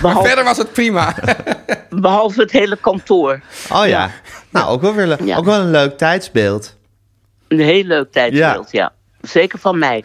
Speaker 5: Behalve,
Speaker 2: Verder was het prima.
Speaker 5: behalve het hele kantoor.
Speaker 1: Oh ja. Nou, ook wel, weer, le-
Speaker 5: Ja.
Speaker 1: ook wel een leuk tijdsbeeld.
Speaker 5: Een heel leuk tijdsbeeld, ja. Zeker van mij.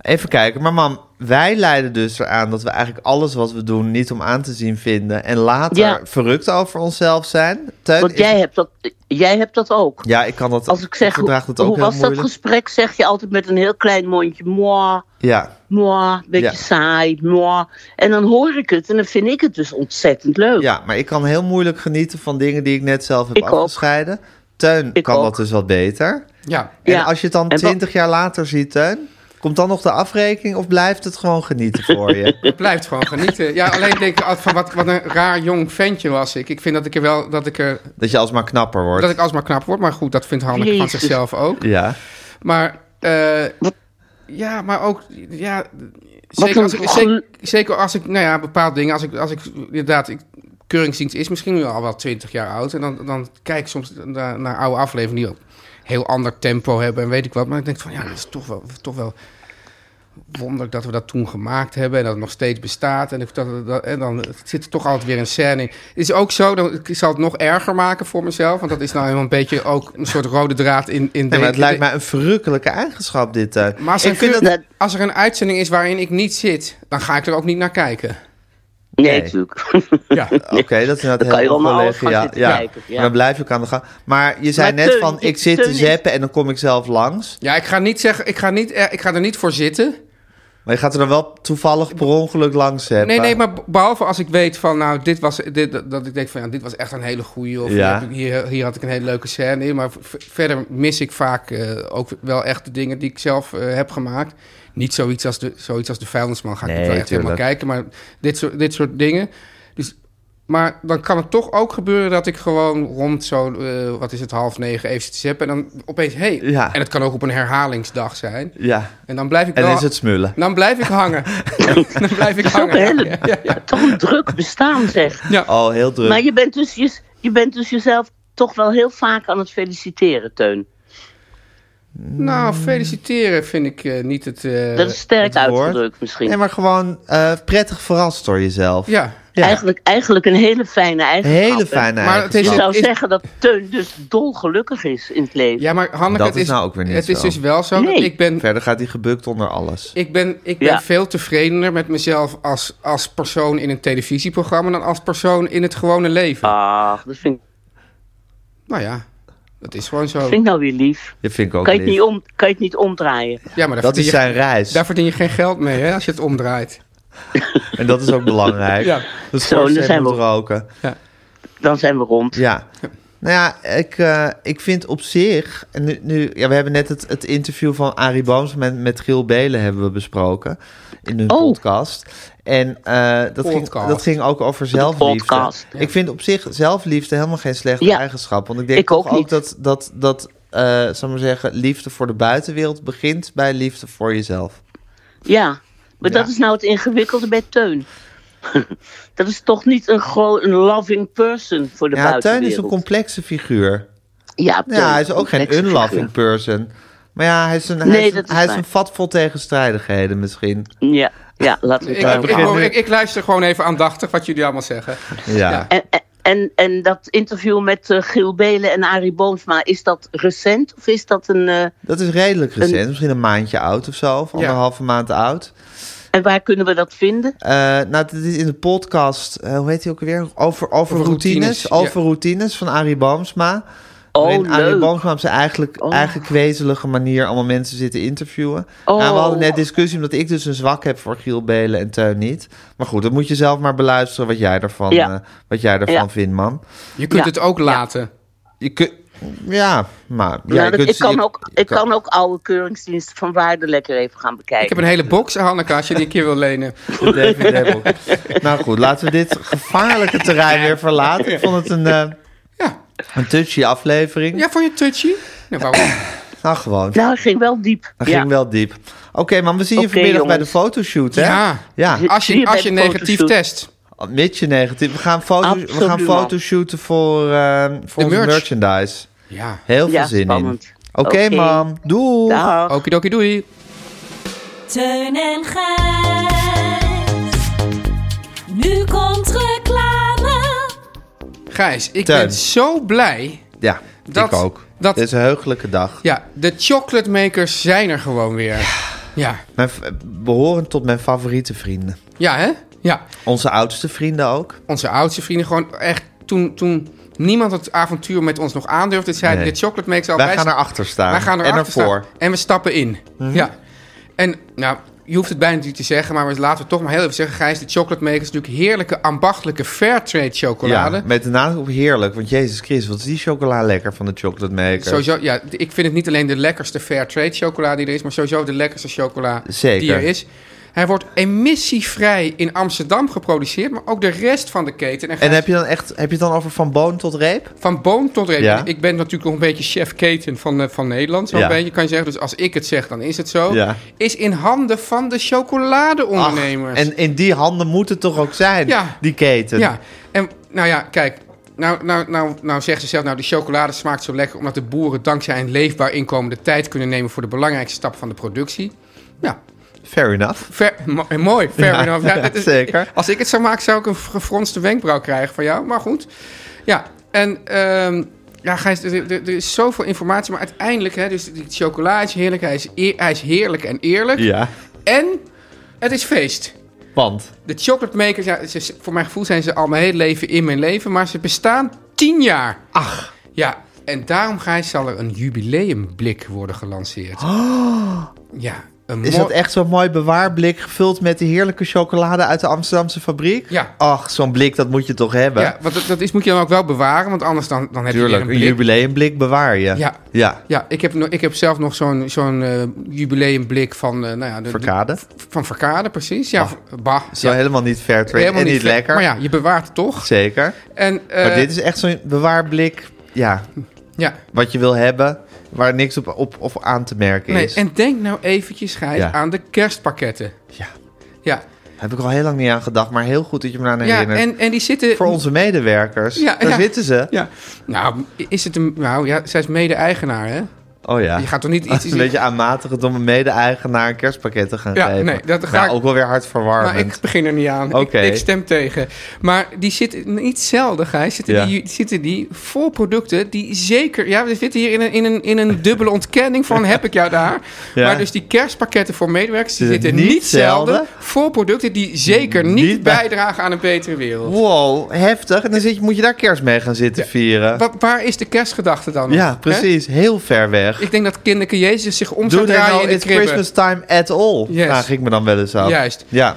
Speaker 1: Even kijken, maar mam, wij leiden dus eraan dat we eigenlijk alles wat we doen niet om aan te zien vinden. En later
Speaker 5: Ja.
Speaker 1: verrukt over onszelf zijn. Teun,
Speaker 5: Want
Speaker 1: is-
Speaker 5: jij hebt dat, jij hebt dat ook.
Speaker 1: Ja, ik kan dat.
Speaker 5: Als ik zeg,
Speaker 1: verdraag dat ook
Speaker 5: hoe
Speaker 1: heel
Speaker 5: was dat
Speaker 1: moeilijk.
Speaker 5: gesprek, zeg je altijd met een heel klein mondje. Mwah,
Speaker 1: Ja,
Speaker 5: mwah, beetje
Speaker 1: Ja.
Speaker 5: saai, mwah. En dan hoor ik het en dan vind ik het dus ontzettend leuk.
Speaker 1: ja, maar ik kan heel moeilijk genieten van dingen die ik net zelf heb
Speaker 5: Ik ook.
Speaker 1: afgescheiden. Teun
Speaker 5: Ik
Speaker 1: kan dat
Speaker 5: ook.
Speaker 1: dus wat beter.
Speaker 2: Ja.
Speaker 5: Ja.
Speaker 1: En als je het dan
Speaker 5: En wat-
Speaker 1: twintig jaar later ziet, Teun, komt dan nog de afrekening of blijft het gewoon genieten voor je?
Speaker 2: Het blijft gewoon genieten. Ja, alleen denk ik altijd van wat, wat een raar jong ventje was ik. Ik vind dat ik er wel, dat ik er,
Speaker 1: dat je alsmaar knapper wordt.
Speaker 2: dat ik alsmaar knap word. Maar goed, dat vindt Hanneke van
Speaker 5: Jezus.
Speaker 2: zichzelf ook.
Speaker 1: Ja.
Speaker 2: Maar, eh, ja, maar ook, ja, zeker
Speaker 5: een
Speaker 2: als, ik,
Speaker 5: gel-
Speaker 2: zeker, zeker als ik, nou ja, bepaalde dingen, als ik, als ik inderdaad, ik, keuringsdienst is misschien nu al wel twintig jaar oud. En dan, dan kijk ik soms naar, naar oude afleveringen die een heel ander tempo hebben en weet ik wat. Maar ik denk van, ja, dat is toch wel, toch wel wonderlijk dat we dat toen gemaakt hebben en dat het nog steeds bestaat. En, ik- dat, dat- en dan zit er toch altijd weer een scène in. Het is ook zo, dat, ik zal het nog erger maken voor mezelf, want dat is nou helemaal een beetje ook een soort rode draad in, in
Speaker 1: Nee, maar het
Speaker 2: de-
Speaker 1: lijkt mij een verrukkelijke eigenschap, dit. Teun.
Speaker 2: maar als er,
Speaker 1: ik vind
Speaker 2: een-
Speaker 1: dat...
Speaker 5: dat-
Speaker 2: als er een uitzending is waarin ik niet zit, dan ga ik er ook niet naar kijken.
Speaker 5: Nee,
Speaker 1: Nee.
Speaker 5: natuurlijk.
Speaker 2: Ja.
Speaker 1: Oké, dat is inderdaad
Speaker 5: Dan kan je
Speaker 1: heel
Speaker 5: wel naar alles gaan
Speaker 1: Ja,
Speaker 5: zitten
Speaker 1: ja.
Speaker 5: kijken, ja.
Speaker 1: Maar dan blijf je ook aan de gang. Maar je zei
Speaker 5: Maar
Speaker 1: net
Speaker 5: Teun,
Speaker 1: van,
Speaker 5: je-
Speaker 1: ik zit te
Speaker 5: Teun is-
Speaker 1: zappen en dan kom ik zelf langs.
Speaker 2: Ja, ik ga niet zeggen, ik ga, niet, eh, ik ga er niet voor zitten.
Speaker 1: Maar je gaat er dan wel toevallig per ongeluk langs zappen.
Speaker 2: Nee, nee, maar behalve als ik weet van, nou, dit was, dit, dat ik denk van, ja, dit was echt een hele goeie. Of
Speaker 1: Ja.
Speaker 2: hier heb ik- hier, hier had ik een hele leuke scène in. Maar v- verder mis ik vaak eh, ook wel echt de dingen die ik zelf eh, heb gemaakt. Niet zoiets als de, zoiets als de vuilnisman ga ik
Speaker 1: Nee,
Speaker 2: niet wel echt helemaal
Speaker 1: tuurlijk.
Speaker 2: kijken. Maar dit soort, dit soort dingen. Dus, maar dan kan het toch ook gebeuren dat ik gewoon rond zo, eh, wat is het, half negen even zit te zappen. En dan opeens, hey.
Speaker 1: Ja.
Speaker 2: En het kan ook op een herhalingsdag zijn.
Speaker 1: Ja,
Speaker 2: En dan blijf ik
Speaker 1: en
Speaker 2: wel...
Speaker 1: is het smullen.
Speaker 2: Dan blijf ik hangen. dan blijf ik
Speaker 5: Dat is ook
Speaker 2: hangen.
Speaker 5: een hele,
Speaker 2: Oh, Ja, ja, ja.
Speaker 5: toch een druk bestaan, zeg.
Speaker 1: Oh, heel druk.
Speaker 5: Maar je bent, dus je, je bent dus jezelf toch wel heel vaak aan het feliciteren, Teun.
Speaker 2: Nou, feliciteren vind ik eh, niet het... eh,
Speaker 5: Dat is sterk
Speaker 1: het woord.
Speaker 5: uitgedrukt misschien.
Speaker 1: Nee, maar gewoon eh, prettig verrast door jezelf.
Speaker 2: Ja,
Speaker 1: ja.
Speaker 5: Eigenlijk, eigenlijk een hele fijne eigenschap.
Speaker 1: Hele
Speaker 5: hè?
Speaker 1: fijne
Speaker 2: Maar het is-
Speaker 5: Je
Speaker 1: eigenschap.
Speaker 5: zou
Speaker 2: Is-
Speaker 5: zeggen dat Teun dus dolgelukkig is in het leven.
Speaker 2: ja maar Hanneke,
Speaker 1: Dat
Speaker 2: het
Speaker 1: is nou ook weer niet
Speaker 2: Het is
Speaker 1: zo.
Speaker 2: dus wel zo dat
Speaker 5: Nee.
Speaker 2: ik ben...
Speaker 1: Verder gaat hij gebukt onder alles.
Speaker 2: Ik ben, ik ben
Speaker 5: Ja.
Speaker 2: veel tevredener met mezelf als, als persoon in een televisieprogramma... dan als persoon in het gewone leven.
Speaker 5: Ah. Ach, dat vind,
Speaker 2: Nou ja, dat is gewoon zo.
Speaker 5: vind ik nou weer lief.
Speaker 1: Dat vind ik ook
Speaker 5: Kan je,
Speaker 1: lief.
Speaker 5: het niet om, kan je het niet omdraaien?
Speaker 2: Ja, maar daar,
Speaker 1: Dat
Speaker 2: verdien
Speaker 1: is
Speaker 2: je,
Speaker 1: zijn reis.
Speaker 2: daar verdien je geen geld mee, hè, als je het omdraait.
Speaker 1: En dat is ook belangrijk.
Speaker 2: Ja.
Speaker 1: Dat
Speaker 5: Zo, daar zijn we
Speaker 1: moet
Speaker 5: op.
Speaker 1: roken.
Speaker 5: Dan zijn we rond.
Speaker 1: Ja. Nou ja, ik, eh, ik vind op zich... En nu, nu, ja, we hebben net het, het interview van Arie Booms met, met Giel Belen hebben we besproken. In hun
Speaker 5: Oh.
Speaker 1: podcast. En eh, dat, ging,
Speaker 2: Podcast.
Speaker 1: dat ging ook over zelfliefde.
Speaker 5: podcast, ja.
Speaker 1: Ik vind op zich zelfliefde helemaal geen slechte
Speaker 5: Ja.
Speaker 1: eigenschap. Want ik denk
Speaker 5: Ik
Speaker 1: toch
Speaker 5: ook
Speaker 1: ook
Speaker 5: niet.
Speaker 1: dat, dat, dat eh, zal ik maar zeggen, liefde voor de buitenwereld begint bij liefde voor jezelf.
Speaker 5: Ja, maar dat is nou het ingewikkelde bij Teun. dat is toch niet een, gro- een loving person voor de
Speaker 1: Ja, Teun
Speaker 5: buitenwereld.
Speaker 1: is een complexe figuur.
Speaker 5: Ja, Teun
Speaker 1: Ja, hij
Speaker 5: is
Speaker 1: is ook geen
Speaker 5: complexe
Speaker 1: unloving person. Maar ja, hij is een, hij
Speaker 5: Nee,
Speaker 1: is een,
Speaker 5: dat is
Speaker 1: hij is
Speaker 5: waar.
Speaker 1: een vat vol tegenstrijdigheden misschien.
Speaker 5: figuur. Ja, ja laten we
Speaker 2: Ik,
Speaker 5: het daarop
Speaker 2: ik, oh,
Speaker 1: begin
Speaker 5: houden.
Speaker 2: ik,
Speaker 1: nu-
Speaker 2: ik, ik luister gewoon even aandachtig wat jullie allemaal zeggen.
Speaker 1: Ja.
Speaker 5: En, en, En, en dat interview met eh, Giel Belen en Arie Boomsma, is dat recent of is dat een... eh,
Speaker 1: Dat is redelijk recent, misschien een maandje oud of zo, of anderhalve maand oud.
Speaker 5: en waar kunnen we dat vinden?
Speaker 1: Eh, nou, dit is in de podcast, eh, hoe heet hij ook alweer? Over, over
Speaker 2: Over
Speaker 1: routines.
Speaker 2: routines, ja.
Speaker 1: Over routines van Arie Boomsma.
Speaker 5: Oh,
Speaker 1: waarin Arie
Speaker 5: leuk.
Speaker 1: Boomsma op zijn eigenlijk,
Speaker 5: Oh.
Speaker 1: eigenlijk wezelige manier allemaal mensen zitten interviewen.
Speaker 5: Oh.
Speaker 1: Nou, we hadden net discussie omdat ik dus een zwak heb voor Giel Belen en Teun niet. Maar goed, dat moet je zelf maar beluisteren wat jij daarvan,
Speaker 5: Ja.
Speaker 1: eh, wat jij daarvan
Speaker 5: Ja.
Speaker 1: vindt, man.
Speaker 2: Je kunt
Speaker 5: Ja.
Speaker 2: het ook laten.
Speaker 1: Je kunt... Ja, maar... Ja,
Speaker 5: Nou,
Speaker 1: je
Speaker 5: dat-
Speaker 1: kunt-
Speaker 5: ik, kan
Speaker 1: je-
Speaker 5: ook, ik kan ook oude keuringsdiensten van waarde lekker even gaan bekijken.
Speaker 2: Ik heb een hele box, Hanneke, als je die een keer wil lenen.
Speaker 1: De David Hebbock. nou goed, laten we dit gevaarlijke terrein weer verlaten. Ik vond het een, eh
Speaker 2: Ja,
Speaker 1: een touchy aflevering.
Speaker 2: ja voor je touchy. Nou, waarom?
Speaker 1: Nou gewoon,
Speaker 5: Nou, het ging wel diep.
Speaker 1: dat
Speaker 5: ja.
Speaker 1: ging wel diep. Oké, maar we zien je
Speaker 5: Oké,
Speaker 1: vanmiddag bij de
Speaker 5: jongens.
Speaker 1: fotoshoot, hè?
Speaker 2: Ja.
Speaker 1: Ja,
Speaker 2: Als
Speaker 5: Zie
Speaker 2: je,
Speaker 5: je
Speaker 2: als
Speaker 5: bij
Speaker 2: je
Speaker 5: de
Speaker 2: negatief
Speaker 5: fotoshoot.
Speaker 2: test.
Speaker 1: met je negatief. We gaan, foto, we
Speaker 5: Absoluut,
Speaker 1: gaan
Speaker 5: man.
Speaker 1: fotoshooten voor, eh voor
Speaker 2: De
Speaker 1: onze
Speaker 2: merch.
Speaker 1: merchandise.
Speaker 2: Ja.
Speaker 1: Heel veel
Speaker 5: Ja,
Speaker 1: zin
Speaker 5: spannend.
Speaker 1: in. Oké,
Speaker 5: Oké.
Speaker 1: mam. Doei.
Speaker 5: Dag.
Speaker 2: Okidoki doei.
Speaker 4: Teun en Gijs. Nu komt reclame.
Speaker 2: Gijs, ik
Speaker 1: Teun.
Speaker 2: ben zo blij.
Speaker 1: Ja,
Speaker 2: Dat-
Speaker 1: ik ook.
Speaker 2: dat-
Speaker 1: Dit is een heugelijke dag.
Speaker 2: Ja, de chocolatemakers zijn er gewoon weer. Ja.
Speaker 1: Mijn, f- behorend tot mijn favoriete vrienden.
Speaker 2: Ja, hè? Ja.
Speaker 1: Onze oudste vrienden ook.
Speaker 2: Onze oudste vrienden gewoon echt... Toen, toen niemand het avontuur met ons nog aandurfde, zeiden
Speaker 1: Nee.
Speaker 2: de chocolatemakers al...
Speaker 1: Wij gaan erachter staan.
Speaker 2: Wij gaan
Speaker 1: en
Speaker 2: erachter
Speaker 1: ervoor.
Speaker 2: staan. En we stappen in. Ja. En nou, je hoeft het bijna niet te zeggen, maar we- laten we toch maar heel even zeggen... Gijs, de chocolate maker is natuurlijk heerlijke, ambachtelijke fairtrade chocolade.
Speaker 1: Ja, met de nadruk op heerlijk. Want Jezus Christus, wat is die chocola lekker van de chocolate maker.
Speaker 2: Sowieso, ja, d- ik vind het niet alleen de lekkerste fair trade chocola die er is, maar sowieso de lekkerste chocola
Speaker 1: Zeker.
Speaker 2: die er is. Hij wordt emissievrij in Amsterdam geproduceerd, maar ook de rest van de keten. En,
Speaker 1: En
Speaker 2: Gijs,
Speaker 1: heb je, dan echt, heb je het dan over van boon tot reep?
Speaker 2: van boom tot reep.
Speaker 1: Ja.
Speaker 2: Ik ben natuurlijk nog een beetje chef keten van, eh, van Nederland, zo'n
Speaker 1: Ja.
Speaker 2: beetje kan je zeggen. Dus als ik het zeg, dan is het zo.
Speaker 1: Ja.
Speaker 2: Is in handen van de
Speaker 1: Ach,
Speaker 2: chocoladeondernemers.
Speaker 1: en in die handen moet het toch ook zijn,
Speaker 2: Ja.
Speaker 1: die keten?
Speaker 2: Ja, en nou ja, kijk. Nou, nou, nou, nou zegt ze zelf, nou, de chocolade smaakt zo lekker... omdat de boeren dankzij een leefbaar inkomen de tijd kunnen nemen... voor de belangrijkste stap van de productie. Ja,
Speaker 1: Fair enough.
Speaker 2: ver, mo- eh, mooi, fair
Speaker 1: Ja,
Speaker 2: enough. Ja, dit is-
Speaker 1: zeker.
Speaker 2: Als ik het zou maken, zou ik een gefronste wenkbrauw krijgen van jou. Maar goed. Ja, en ehm, ja, Gijs, er, er- er is zoveel informatie. Maar uiteindelijk, hè, dus die chocola is heerlijk. Hij is, eer- hij is heerlijk en eerlijk.
Speaker 1: Ja,
Speaker 2: En het is feest.
Speaker 1: want
Speaker 2: De chocolate makers, ja, ze- voor mijn gevoel zijn ze al mijn hele leven in mijn leven, maar ze bestaan tien jaar. Ach. Ja, en daarom Gijs, zal er een jubileumblik worden gelanceerd. Ja, een
Speaker 1: Oh! is
Speaker 2: mooi-
Speaker 1: dat echt zo'n mooi bewaarblik gevuld met de heerlijke chocolade uit de Amsterdamse fabriek?
Speaker 2: Ja.
Speaker 1: Ach, zo'n blik, dat moet je toch hebben?
Speaker 2: Ja, want dat, dat is, moet je dan ook wel bewaren, want anders dan, dan heb
Speaker 1: Tuurlijk,
Speaker 2: je
Speaker 1: een
Speaker 2: weer een blik.
Speaker 1: jubileumblik bewaar je.
Speaker 2: Ja.
Speaker 1: ja.
Speaker 2: Ja, ik heb, nog- ik heb zelf nog zo'n zo'n eh, jubileumblik van... eh, nou ja, de-
Speaker 1: Verkade.
Speaker 2: de- van Verkade, precies. Ja, bah.
Speaker 1: Ah. Zo
Speaker 2: ja,
Speaker 1: helemaal niet fair trade
Speaker 2: helemaal
Speaker 1: en niet,
Speaker 2: ver-
Speaker 1: lekker.
Speaker 2: Maar ja, je bewaart het toch.
Speaker 1: Zeker.
Speaker 2: En, eh,
Speaker 1: maar dit is echt zo'n bewaarblik, ja,
Speaker 2: Ja,
Speaker 1: wat je wil hebben, waar niks op, op, op aan te merken
Speaker 2: nee,
Speaker 1: is.
Speaker 2: en denk nou eventjes, Gijs,
Speaker 1: Ja.
Speaker 2: aan de kerstpakketten.
Speaker 1: Ja,
Speaker 2: Ja,
Speaker 1: heb ik al heel lang niet aan gedacht, maar heel goed dat je me aan
Speaker 2: ja
Speaker 1: herinnert.
Speaker 2: en, en die zitten...
Speaker 1: Voor onze medewerkers,
Speaker 2: Ja,
Speaker 1: daar
Speaker 2: ja.
Speaker 1: zitten ze.
Speaker 2: Ja. Nou, is het een... Nou ja, zij is mede-eigenaar, hè?
Speaker 1: Oh ja.
Speaker 2: Je gaat toch niet iets...
Speaker 1: een beetje aanmatigend om een mede-eigenaar een kerstpakket te gaan
Speaker 2: Ja,
Speaker 1: geven.
Speaker 2: nee, dat ga
Speaker 1: Nou,
Speaker 2: ik-
Speaker 1: ook wel weer
Speaker 2: maar
Speaker 1: hartverwarmend.
Speaker 2: ik begin er niet aan.
Speaker 1: Oké.
Speaker 2: Ik, ik stem tegen. Maar die zitten niet zelden, Gijs. Zitten,
Speaker 1: Ja.
Speaker 2: die, zitten die vol producten die zeker... Ja, we zitten hier in een, in een, in een dubbele ontkenning van heb ik jou daar.
Speaker 1: Ja.
Speaker 2: Maar dus die kerstpakketten voor medewerkers... die
Speaker 1: Zit het
Speaker 2: zitten
Speaker 1: niet
Speaker 2: niet zelden
Speaker 1: zelden?
Speaker 2: vol producten die zeker niet,
Speaker 1: Niet bij-
Speaker 2: bijdragen aan een betere wereld.
Speaker 1: Wow, heftig. En dan zit je, moet je daar kerst mee gaan zitten vieren.
Speaker 2: Wa- waar is de kerstgedachte dan nog,
Speaker 1: ja,
Speaker 2: hè?
Speaker 1: precies. Heel ver weg.
Speaker 2: Ik denk dat kinderke Jezus zich om
Speaker 1: Doe
Speaker 2: zou
Speaker 1: dit
Speaker 2: draaien
Speaker 1: nou
Speaker 2: in de
Speaker 1: in
Speaker 2: kribben.
Speaker 1: Christmas time at all?
Speaker 2: Yes.
Speaker 1: Vraag ik me dan wel eens af.
Speaker 2: Juist.
Speaker 1: Ja,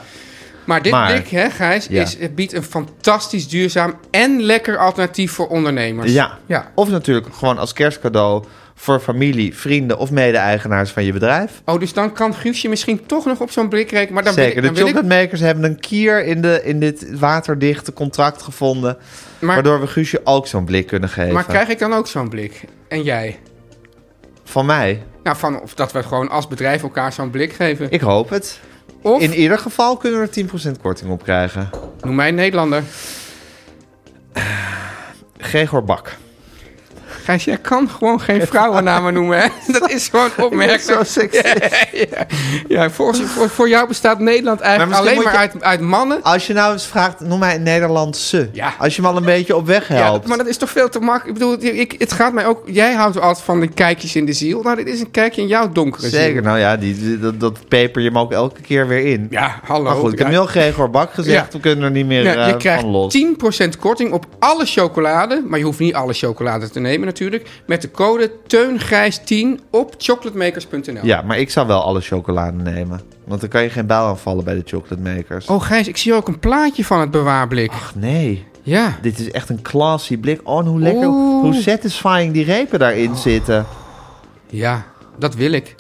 Speaker 2: Maar dit
Speaker 1: Maar-
Speaker 2: blik, hè, Gijs,
Speaker 1: Ja.
Speaker 2: is, het biedt een fantastisch duurzaam en lekker alternatief voor ondernemers.
Speaker 1: ja.
Speaker 2: ja.
Speaker 1: Of natuurlijk gewoon als kerstcadeau voor familie, vrienden of mede-eigenaars van je bedrijf.
Speaker 2: Oh, dus dan kan Guusje misschien toch nog op zo'n blik rekenen. Maar dan
Speaker 1: Zeker.
Speaker 2: wil ik,
Speaker 1: De
Speaker 2: dan wil ik-
Speaker 1: chocolate makers hebben een kier in, de, in dit waterdichte contract gevonden.
Speaker 2: maar,
Speaker 1: waardoor we Guusje ook zo'n blik kunnen geven.
Speaker 2: maar krijg ik dan ook zo'n blik? En jij?
Speaker 1: Van mij.
Speaker 2: Nou, van, of dat we gewoon als bedrijf elkaar zo'n blik geven.
Speaker 1: Ik hoop het.
Speaker 2: Of,
Speaker 1: In ieder geval kunnen we er 10% korting op krijgen.
Speaker 2: noem mij een Nederlander.
Speaker 1: Gregor Bak.
Speaker 2: Gijs, jij kan gewoon geen vrouwennamen noemen, hè? Dat is gewoon
Speaker 1: Zo
Speaker 2: opmerkelijk.
Speaker 1: sexy.
Speaker 2: Ja. Ja, volgens, voor, voor jou bestaat Nederland eigenlijk
Speaker 1: Maar
Speaker 2: alleen
Speaker 1: misschien
Speaker 2: maar uit, uit mannen.
Speaker 1: Als je nou eens vraagt, noem mij een Nederlandse.
Speaker 2: Ja.
Speaker 1: Als je hem al een beetje op weg
Speaker 2: Ja,
Speaker 1: helpt.
Speaker 2: maar dat is toch veel te makkelijk. Ik bedoel, ik, het gaat mij ook... Jij houdt altijd van de kijkjes in de ziel. Nou, dit is een kijkje in jouw donkere
Speaker 1: Zeker,
Speaker 2: ziel.
Speaker 1: nou ja, die, die- dat, dat peper je hem ook elke keer weer in.
Speaker 2: Ja, hallo.
Speaker 1: maar goed, ik heb
Speaker 2: Ja.
Speaker 1: nu al Gregor Bak gezegd,
Speaker 2: Ja.
Speaker 1: we kunnen er niet meer
Speaker 2: Ja,
Speaker 1: eh,
Speaker 2: je krijgt
Speaker 1: van los.
Speaker 2: 10% korting op alle chocolade. Maar je hoeft niet alle chocolade te nemen natuurlijk. Met de code TEUNGRIJS10 op chocolatemakers.nl.
Speaker 1: Ja, maar ik zou wel alle chocolade nemen. Want dan kan je geen bijl aanvallen bij de chocolate makers.
Speaker 2: Oh Gijs, ik zie ook een plaatje van het bewaarblik.
Speaker 1: nee.
Speaker 2: Ja.
Speaker 1: Dit is echt een classy blik. Oh, en hoe lekker,
Speaker 2: Oeh.
Speaker 1: hoe satisfying die repen daarin zitten.
Speaker 2: Ja, dat wil ik.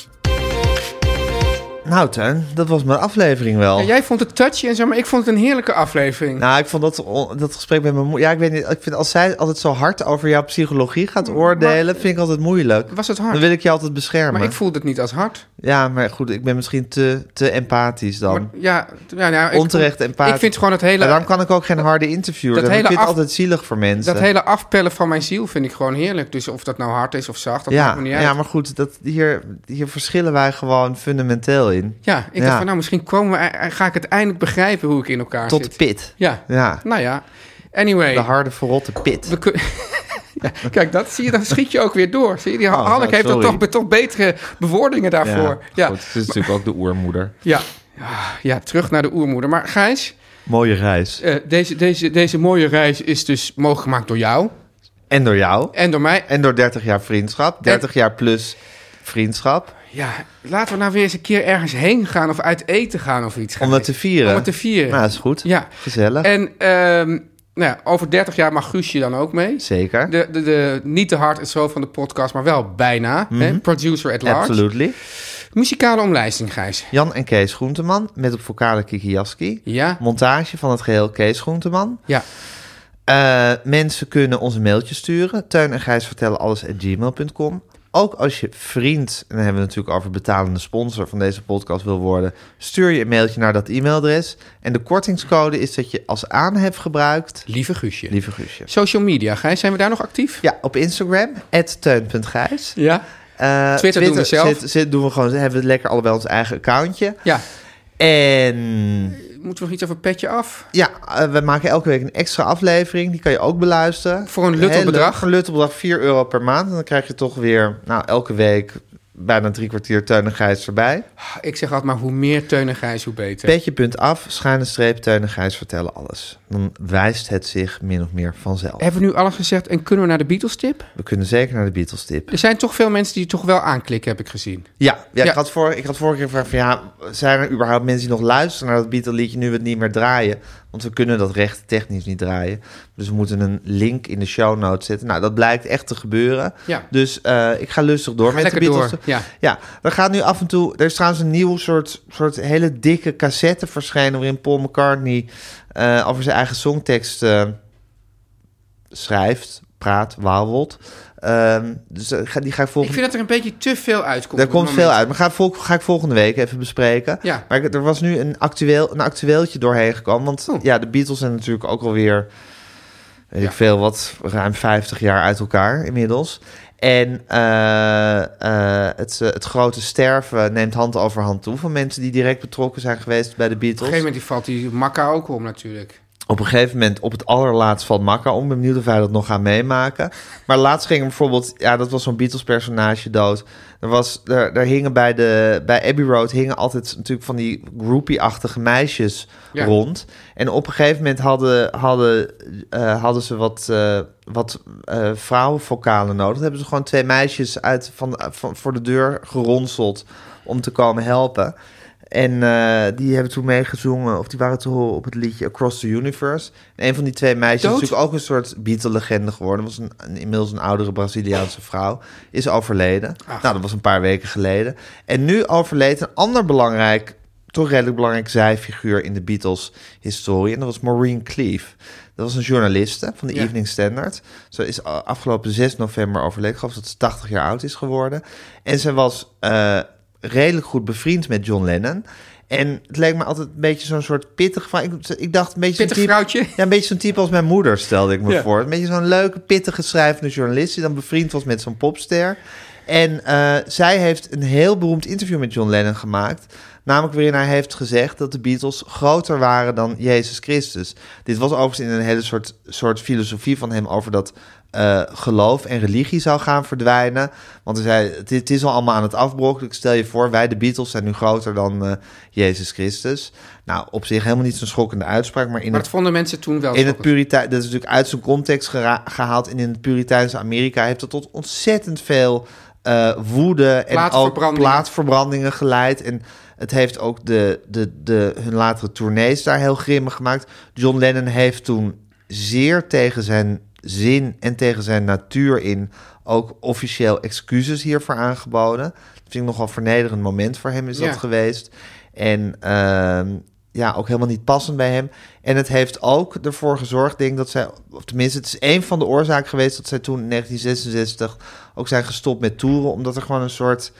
Speaker 1: Nou, Tuin, dat was mijn aflevering wel.
Speaker 2: Ja, jij vond het touchy en zo, maar ik vond het een heerlijke aflevering.
Speaker 1: Nou, ik vond dat, on- dat gesprek met mijn moeder... Ja, ik weet niet, ik vind als zij altijd zo hard over jouw psychologie gaat oordelen... vind ik altijd moeilijk.
Speaker 2: was het
Speaker 1: Dan
Speaker 2: hard.
Speaker 1: wil ik je altijd beschermen.
Speaker 2: Maar ik voelde het niet als hard.
Speaker 1: Ja, maar goed, ik ben misschien te, te empathisch dan.
Speaker 2: Maar, ja, t- ja, nou, ik-
Speaker 1: Onterecht empathisch.
Speaker 2: Ik vind gewoon het hele,
Speaker 1: Maar daarom kan ik ook geen harde interview
Speaker 2: dat
Speaker 1: doen. Ik
Speaker 2: hele
Speaker 1: vind het
Speaker 2: af-
Speaker 1: altijd zielig voor mensen.
Speaker 2: dat hele afpellen van mijn ziel vind ik gewoon heerlijk. Dus of dat nou hard is of zacht, dat maakt
Speaker 1: ja,
Speaker 2: me niet uit.
Speaker 1: ja, maar goed, dat, hier, hier verschillen wij gewoon fundamenteel in.
Speaker 2: Ja, ik dacht
Speaker 1: Ja.
Speaker 2: van nou, misschien komen we, eh, ga ik het eindelijk begrijpen hoe ik in elkaar
Speaker 1: Tot de
Speaker 2: zit.
Speaker 1: pit.
Speaker 2: Ja.
Speaker 1: Ja,
Speaker 2: nou ja. Anyway.
Speaker 1: de harde verrotte pit.
Speaker 2: we kun- Ja, kijk, dat zie je, dan schiet je ook weer door. Zie je, die
Speaker 1: Oh,
Speaker 2: Hanneke
Speaker 1: nou,
Speaker 2: heeft
Speaker 1: sorry.
Speaker 2: toch, toch betere bewoordingen daarvoor. Ja, ja.
Speaker 1: Goed, het is natuurlijk ook de oermoeder.
Speaker 2: ja. Ah, ja, terug naar de oermoeder. Maar Gijs,
Speaker 1: Mooie reis.
Speaker 2: eh, deze, deze, deze mooie reis is dus mogelijk gemaakt door jou
Speaker 1: En door jou.
Speaker 2: en door mij.
Speaker 1: En door 30 jaar vriendschap. 30 jaar plus vriendschap.
Speaker 2: Ja, laten we nou weer eens een keer ergens heen gaan of uit eten gaan of iets.
Speaker 1: Om het te
Speaker 2: Gijs.
Speaker 1: vieren.
Speaker 2: Om het te vieren.
Speaker 1: Nou, is goed.
Speaker 2: Ja.
Speaker 1: Gezellig.
Speaker 2: En ehm, nou ja, over 30 jaar mag Guusje dan ook mee.
Speaker 1: Zeker.
Speaker 2: De, de, de, niet de hard en zo van de podcast, maar wel bijna.
Speaker 1: Mhm.
Speaker 2: hè? Producer at large.
Speaker 1: Absolutely.
Speaker 2: Muzikale omlijsting, Gijs.
Speaker 1: Jan en Kees Groenteman met op vocale Kiki Jaski.
Speaker 2: Ja.
Speaker 1: Montage van het geheel Kees Groenteman.
Speaker 2: Ja.
Speaker 1: Eh, mensen kunnen ons een mailtje sturen. Teun en Gijs vertellen alles at gmail.com. Ook als je vriend, en dan hebben we het natuurlijk over betalende sponsor van deze podcast wil worden, stuur je een mailtje naar dat e-mailadres. En de kortingscode is dat je als aanhef gebruikt.
Speaker 2: Lieve Guusje.
Speaker 1: Lieve Guusje.
Speaker 2: Social media, Gijs, zijn we daar nog actief?
Speaker 1: Ja, op Instagram, teun.gijs.
Speaker 2: Ja.
Speaker 1: Eh,
Speaker 2: Twitter doen we zelf.
Speaker 1: zit- zit- doen we gewoon, hebben we lekker allebei ons eigen accountje.
Speaker 2: Ja.
Speaker 1: En
Speaker 2: Moeten we nog iets over petje af?
Speaker 1: Ja, eh, we maken elke week een extra aflevering. Die kan je ook beluisteren.
Speaker 2: Voor een luttel
Speaker 1: Heel leuk.
Speaker 2: bedrag.
Speaker 1: Voor een luttel bedrag 4 euro per maand. En dan krijg je toch weer, nou, elke week bijna drie kwartier Teun en Gijs erbij.
Speaker 2: Ik zeg altijd maar, hoe meer Teun en Gijs, hoe beter.
Speaker 1: Petje.af, schuine streep, Teun en Gijs vertellen alles. Dan wijst het zich min of meer vanzelf.
Speaker 2: Hebben we nu alles gezegd en kunnen we naar de Beatles-tip?
Speaker 1: We kunnen zeker naar de Beatles tip.
Speaker 2: Er zijn toch veel mensen die het toch wel aanklikken, heb ik gezien.
Speaker 1: Ja, ja,
Speaker 2: Ja.
Speaker 1: Ik, had voor, ik had vorige keer gevraagd van ja, zijn er überhaupt mensen die nog luisteren naar dat Beatle liedje nu we het niet meer draaien? Want we kunnen dat recht technisch niet draaien. Dus we moeten een link in de show notes zetten. Nou, dat blijkt echt te gebeuren.
Speaker 2: Ja.
Speaker 1: Dus eh, ik ga lustig door met
Speaker 2: Lekker
Speaker 1: de Beatles.
Speaker 2: door, ja.
Speaker 1: ja, er gaat nu af en toe. Er is trouwens een nieuw soort, soort hele dikke cassette verschenen waarin Paul McCartney eh, over zijn eigen songtekst. eh, schrijft, praat, wawelt. Ehm, dus eh, ga- die ga ik
Speaker 2: Ik
Speaker 1: volgende
Speaker 2: vind dat er een beetje te veel uitkomt.
Speaker 1: daar
Speaker 2: op het
Speaker 1: komt
Speaker 2: moment.
Speaker 1: veel uit. Maar ga, vol- ga ik volgende week even bespreken.
Speaker 2: Ja.
Speaker 1: Maar ik- er was nu een, actueel, een actueeltje doorheen gekomen. Want
Speaker 2: Oh.
Speaker 1: ja, de Beatles zijn natuurlijk ook alweer... weet
Speaker 2: Ja.
Speaker 1: ik veel wat, ruim 50 jaar uit elkaar inmiddels. En eh, eh, het, eh, het grote sterven neemt hand over hand toe... van mensen die direct betrokken zijn geweest bij de
Speaker 2: Op een
Speaker 1: Beatles.
Speaker 2: gegeven moment die valt die makka ook om natuurlijk.
Speaker 1: Op een gegeven moment, op het allerlaatst van Makka om. Ik ben benieuwd of wij dat nog gaan meemaken. Maar laatst ging er bijvoorbeeld, ja, dat was zo'n Beatles-personage dood. Er, was, er, er hingen bij, de, bij Abbey Road hingen altijd natuurlijk van die groupie-achtige meisjes
Speaker 2: Ja.
Speaker 1: rond. En op een gegeven moment hadden, hadden, eh, hadden ze wat, eh wat eh vrouwenvokalen nodig. Dan hebben ze gewoon twee meisjes uit van, van, voor de deur geronseld om te komen helpen. En eh, die hebben toen meegezongen, of die waren te horen op het liedje Across the Universe. En een van die twee meisjes
Speaker 2: Dood?
Speaker 1: is natuurlijk ook een soort Beatle-legende geworden. Was een, een- inmiddels een oudere Braziliaanse vrouw. Is overleden. Nou, dat was een paar weken geleden. En nu overleed een ander belangrijk, toch redelijk belangrijk zijfiguur in de Beatles-historie. En dat was Maureen Cleave. Dat was een journaliste van de
Speaker 2: Ja.
Speaker 1: Evening Standard. Ze is a- afgelopen 6 november overleden. Ik geloof dat ze 80 jaar oud is geworden. En ze was eh, redelijk goed bevriend met John Lennon. En het leek me altijd een beetje zo'n soort pittig... Van, ik, ik dacht een beetje... zo'n
Speaker 2: Pittig
Speaker 1: type-
Speaker 2: vrouwtje.
Speaker 1: ja, een beetje zo'n type als mijn moeder, stelde ik me
Speaker 2: Ja.
Speaker 1: voor. Een beetje zo'n leuke, pittige, schrijvende journalist... die dan bevriend was met zo'n popster. En eh, zij heeft een heel beroemd interview met John Lennon gemaakt. Namelijk waarin hij heeft gezegd dat de Beatles groter waren dan Jezus Christus. Dit was overigens in een hele soort, soort filosofie van hem over dat eh, geloof en religie zou gaan verdwijnen. Want hij zei, het, het is al allemaal aan het afbrokkelen. Stel je voor, wij de Beatles zijn nu groter dan eh, Jezus Christus. Nou, op zich helemaal niet zo'n schokkende uitspraak, maar in
Speaker 2: Maar
Speaker 1: het
Speaker 2: dat vonden mensen toen wel.
Speaker 1: in het
Speaker 2: schokkend.
Speaker 1: Puritein, dat is natuurlijk uit zijn context gera- gehaald. En in het Puriteins Amerika heeft dat tot ontzettend veel eh, woede en ook
Speaker 2: Plaatsverbrandingen.
Speaker 1: plaatsverbrandingen geleid. En het heeft ook de, de, de, hun latere tournees daar heel grimmig gemaakt. John Lennon heeft toen zeer tegen zijn zin en tegen zijn natuur in ook officieel excuses hiervoor aangeboden. Dat vind ik nogal een vernederend moment voor hem is
Speaker 2: Ja.
Speaker 1: dat geweest. En ehm, ja, ook helemaal niet passend bij hem. En het heeft ook ervoor gezorgd, denk ik, dat zij... of tenminste, het is een van de oorzaken geweest... dat zij toen in 1966 ook zijn gestopt met toeren... omdat er gewoon een soort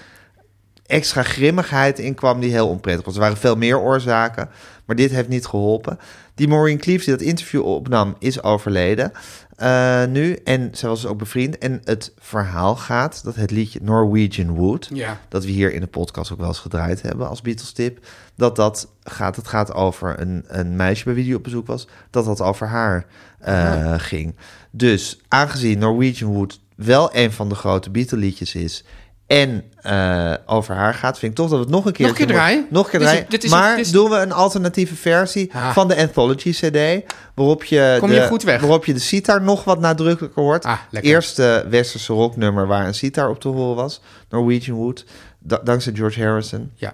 Speaker 1: extra grimmigheid in kwam die heel onprettig was. Er waren veel meer oorzaken, maar dit heeft niet geholpen. Die Maureen Cleaves die dat interview opnam, is overleden eh, nu. En zij was dus ook bevriend. En het verhaal gaat dat het liedje Norwegian Wood...
Speaker 2: Ja.
Speaker 1: dat we hier in de podcast ook wel eens gedraaid hebben als Beatles-tip... dat dat gaat, het gaat over een, een meisje bij wie die op bezoek was... dat dat over haar eh, ging. Dus aangezien Norwegian Wood wel een van de grote Beatle-liedjes is... en eh, over haar gaat, vind ik toch dat we het nog een keer...
Speaker 2: Nog een keer draaien?
Speaker 1: Nog een keer
Speaker 2: Dit is-
Speaker 1: draaien.
Speaker 2: dit is-
Speaker 1: maar
Speaker 2: dit is-
Speaker 1: doen we een alternatieve versie
Speaker 2: Ah.
Speaker 1: van de Anthology-cd... waarop je,
Speaker 2: Kom
Speaker 1: de,
Speaker 2: je goed weg.
Speaker 1: waarop je de sitar nog wat nadrukkelijker hoort.
Speaker 2: Ah, lekker.
Speaker 1: Eerste westerse rocknummer waar een sitar op te horen was. Norwegian Wood, da- dankzij George Harrison.
Speaker 2: ja.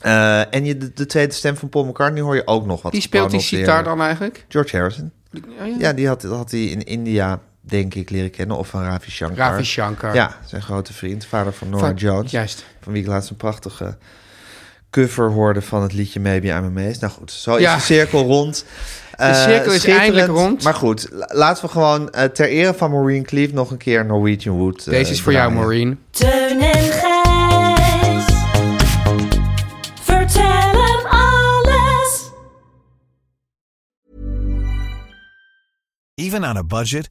Speaker 1: Eh, en je, de, de tweede stem van Paul McCartney hoor je ook nog wat.
Speaker 2: Wie speelt die
Speaker 1: Gewoon op de-
Speaker 2: sitar dan eigenlijk?
Speaker 1: George Harrison.
Speaker 2: Oh, Ja, ja.
Speaker 1: Ja, die had, had hij in India, denk ik, leren kennen. Of van Ravi Shankar.
Speaker 2: Ravi Shankar.
Speaker 1: Ja, zijn grote vriend. Vader van Norah
Speaker 2: Van-
Speaker 1: Jones.
Speaker 2: Juist.
Speaker 1: Van wie ik laatst een prachtige cover hoorde van het liedje Maybe I'm a Maze. Nou goed, zo is
Speaker 2: Ja.
Speaker 1: de cirkel rond. De
Speaker 2: cirkel is eindelijk rond.
Speaker 1: Maar goed, la- laten we gewoon eh, ter ere van Maureen Cleave nog een keer Norwegian Wood eh,
Speaker 2: Deze is voor jou,
Speaker 1: draaien.
Speaker 2: Maureen.
Speaker 4: Teun en Gijs. Vertel hem alles.
Speaker 6: Even on a budget,